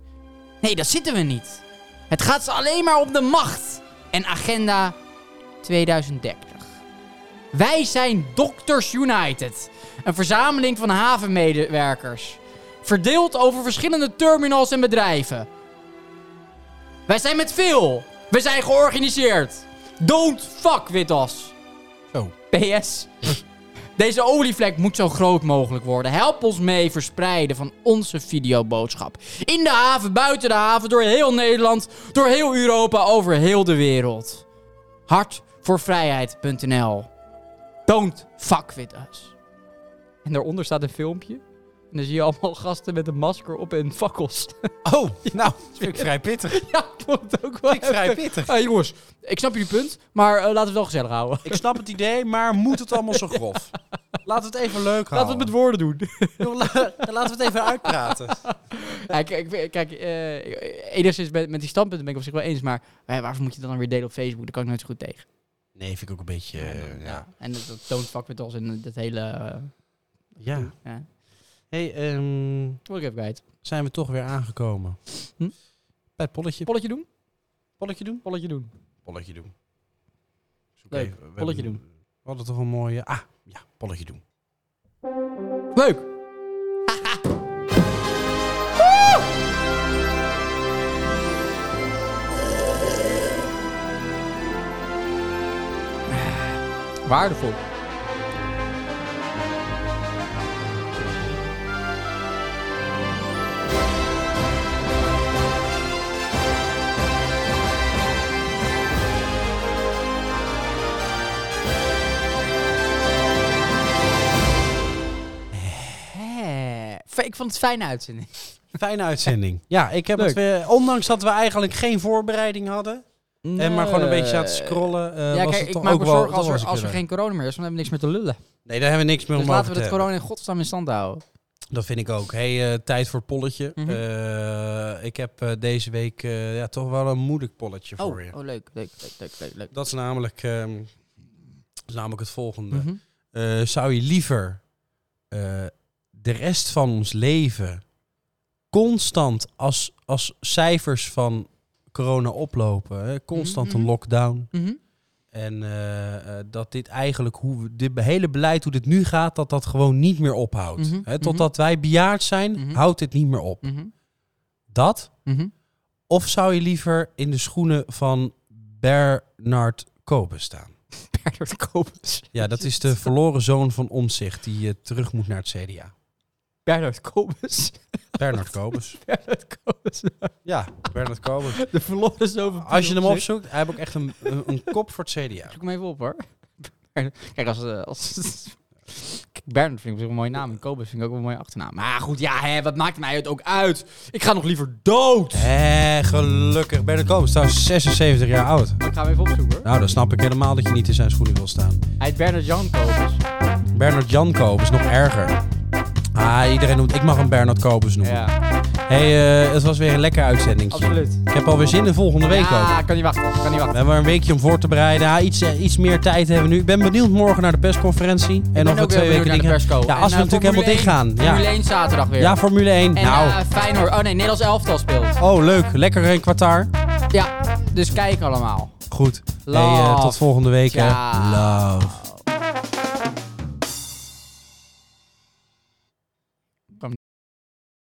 Speaker 4: Nee, dat zitten we niet. Het gaat ze alleen maar om de macht en agenda 2030. Wij zijn Doctors United. Een verzameling van havenmedewerkers. Verdeeld over verschillende terminals en bedrijven. Wij zijn met veel. We zijn georganiseerd. Don't fuck with us.
Speaker 1: Zo.
Speaker 4: PS. Deze olievlek moet zo groot mogelijk worden. Help ons mee verspreiden van onze videoboodschap. In de haven, buiten de haven, door heel Nederland, door heel Europa, over heel de wereld. Hartvoorvrijheid.nl Don't fuck with us. En daaronder staat een filmpje. En dan zie je allemaal gasten met een masker op en fakkels.
Speaker 1: Oh, nou, dat vind ik vrij pittig.
Speaker 4: ja, ik vond het ook wel
Speaker 1: Vind ik vrij
Speaker 4: heftig.
Speaker 1: pittig.
Speaker 4: Ah, jongens, ik snap jullie punt, maar eh, laten we het wel gezellig houden.
Speaker 1: Ik snap het idee, maar moet het allemaal zo grof? Laat het even leuk
Speaker 4: Laten we
Speaker 1: houden.
Speaker 4: het met woorden doen.
Speaker 1: Joh, la- Laten we het even uitpraten.
Speaker 4: Ja, kijk, kijk eh, enigszins met, met die standpunten ben ik op zich wel eens, maar eh, waarvoor moet je dat dan weer delen op Facebook? Daar kan ik nooit zo goed tegen.
Speaker 1: Nee, vind ik ook een beetje... eh, ja.
Speaker 4: En dat, dat don't fuck with us en dat hele... eh,
Speaker 1: ja.
Speaker 4: ja.
Speaker 1: hey, ehm,
Speaker 4: Word ik even kwijt.
Speaker 1: zijn we toch weer aangekomen.
Speaker 4: Hm?
Speaker 1: Bij het polletje.
Speaker 4: Polletje doen?
Speaker 1: Polletje doen?
Speaker 4: Polletje doen.
Speaker 1: Polletje doen. Is oké.
Speaker 4: Leuk,
Speaker 1: We- we
Speaker 4: polletje
Speaker 1: hebben- We hadden toch een mooie... Ah, ja, polletje doen.
Speaker 4: Leuk! Woe! Waardevol.
Speaker 2: Ik vond het een fijne uitzending.
Speaker 1: Fijne uitzending. Ja, ik heb
Speaker 2: Leuk.
Speaker 1: het weer, ondanks dat we eigenlijk geen voorbereiding hadden. En maar gewoon een beetje zaten scrollen. eh,
Speaker 2: ja,
Speaker 1: was
Speaker 2: kijk,
Speaker 1: het
Speaker 2: ik
Speaker 1: ook
Speaker 2: maak me
Speaker 1: wel,
Speaker 2: zorgen
Speaker 1: dat
Speaker 2: als
Speaker 1: was
Speaker 2: er,
Speaker 1: ik
Speaker 2: als er
Speaker 1: weer.
Speaker 2: geen corona meer is, want dan hebben we niks meer te lullen.
Speaker 1: Nee, daar hebben we niks meer
Speaker 2: Dus
Speaker 1: om over
Speaker 2: laten we
Speaker 1: te
Speaker 2: het
Speaker 1: hebben.
Speaker 2: corona in godsnaam in stand houden.
Speaker 1: Dat vind ik ook. Hey, eh, tijd voor polletje.
Speaker 2: Mhm.
Speaker 1: Eh, ik heb eh, deze week eh, ja, toch wel een moeilijk polletje
Speaker 2: Oh,
Speaker 1: voor je.
Speaker 2: oh leuk, leuk, leuk, leuk, leuk. leuk.
Speaker 1: Dat is namelijk, ehm, dat is namelijk het volgende.
Speaker 2: Mhm.
Speaker 1: Eh, zou je liever eh, de rest van ons leven constant als, als cijfers van corona oplopen, hè, constant
Speaker 2: Mhm.
Speaker 1: een lockdown.
Speaker 2: Mhm.
Speaker 1: En eh, eh, dat dit eigenlijk, hoe we- dit hele beleid, hoe dit nu gaat, dat dat gewoon niet meer ophoudt.
Speaker 2: Mhm.
Speaker 1: Hè, totdat wij bejaard zijn,
Speaker 2: Mhm.
Speaker 1: houdt dit niet meer op.
Speaker 2: Mhm.
Speaker 1: Dat?
Speaker 2: Mhm.
Speaker 1: Of zou je liever in de schoenen van Bernard Kopen staan?
Speaker 2: Bernard Kopers.
Speaker 1: Ja, dat is de verloren zoon van Omzicht die eh, terug moet naar het CDA.
Speaker 2: Bernard Kopers.
Speaker 1: Bernard Kobus.
Speaker 2: Bernard Kopers.
Speaker 1: Ja, Bernard Kobus.
Speaker 2: De verloren zoveel.
Speaker 1: Als je hem opzoekt, hij heeft ook echt een, een, een kop voor het CDA.
Speaker 2: Zoek hem even op hoor. Kijk, als... eh, als Kijk, Bernard vind ik wel een mooie naam. En Kobus vind ik ook wel een mooie achternaam. Maar goed, ja, hè, wat maakt mij het ook uit? Ik ga nog liever dood.
Speaker 1: Hé, Eh, gelukkig. Bernard Kobus is trouwens 76 jaar oud.
Speaker 2: Ik ga hem even opzoeken hoor.
Speaker 1: Nou, dan snap ik helemaal dat je niet in zijn schoenen wil staan.
Speaker 2: Hij heet Bernard Jan Kobus.
Speaker 1: Bernard Jan Kobus, nog erger. Ah, iedereen noemt... Ik mag hem Bernard Kobus noemen.
Speaker 2: Ja,
Speaker 1: hey, eh, het was weer een lekker uitzendingje.
Speaker 2: absoluut.
Speaker 1: Ik heb alweer zin in volgende week ook.
Speaker 2: Ja, kan niet wachten. Kan niet
Speaker 1: We
Speaker 2: wachten.
Speaker 1: hebben er een weekje om voor te bereiden. Ja, iets, eh, iets meer tijd hebben we nu. Ik ben benieuwd morgen naar de persconferentie. En
Speaker 2: ben
Speaker 1: of we
Speaker 2: ook
Speaker 1: twee
Speaker 2: heel benieuwd
Speaker 1: weken
Speaker 2: naar de
Speaker 1: dingen-
Speaker 2: persco.
Speaker 1: Ja,
Speaker 2: En,
Speaker 1: als we
Speaker 2: eh,
Speaker 1: natuurlijk helemaal dicht
Speaker 2: Formule
Speaker 1: gaan.
Speaker 2: één-
Speaker 1: Ja.
Speaker 2: Formule 1 zaterdag weer.
Speaker 1: ja, Formule 1.
Speaker 2: en
Speaker 1: nou,
Speaker 2: eh, Feyenoord. Oh nee, Nederlands elftal speelt.
Speaker 1: oh leuk. Lekker een kwartaar.
Speaker 2: Ja, dus kijk allemaal.
Speaker 1: Goed. Hey,
Speaker 2: Love.
Speaker 1: eh, tot volgende week. hè.
Speaker 2: Ja.
Speaker 1: Love.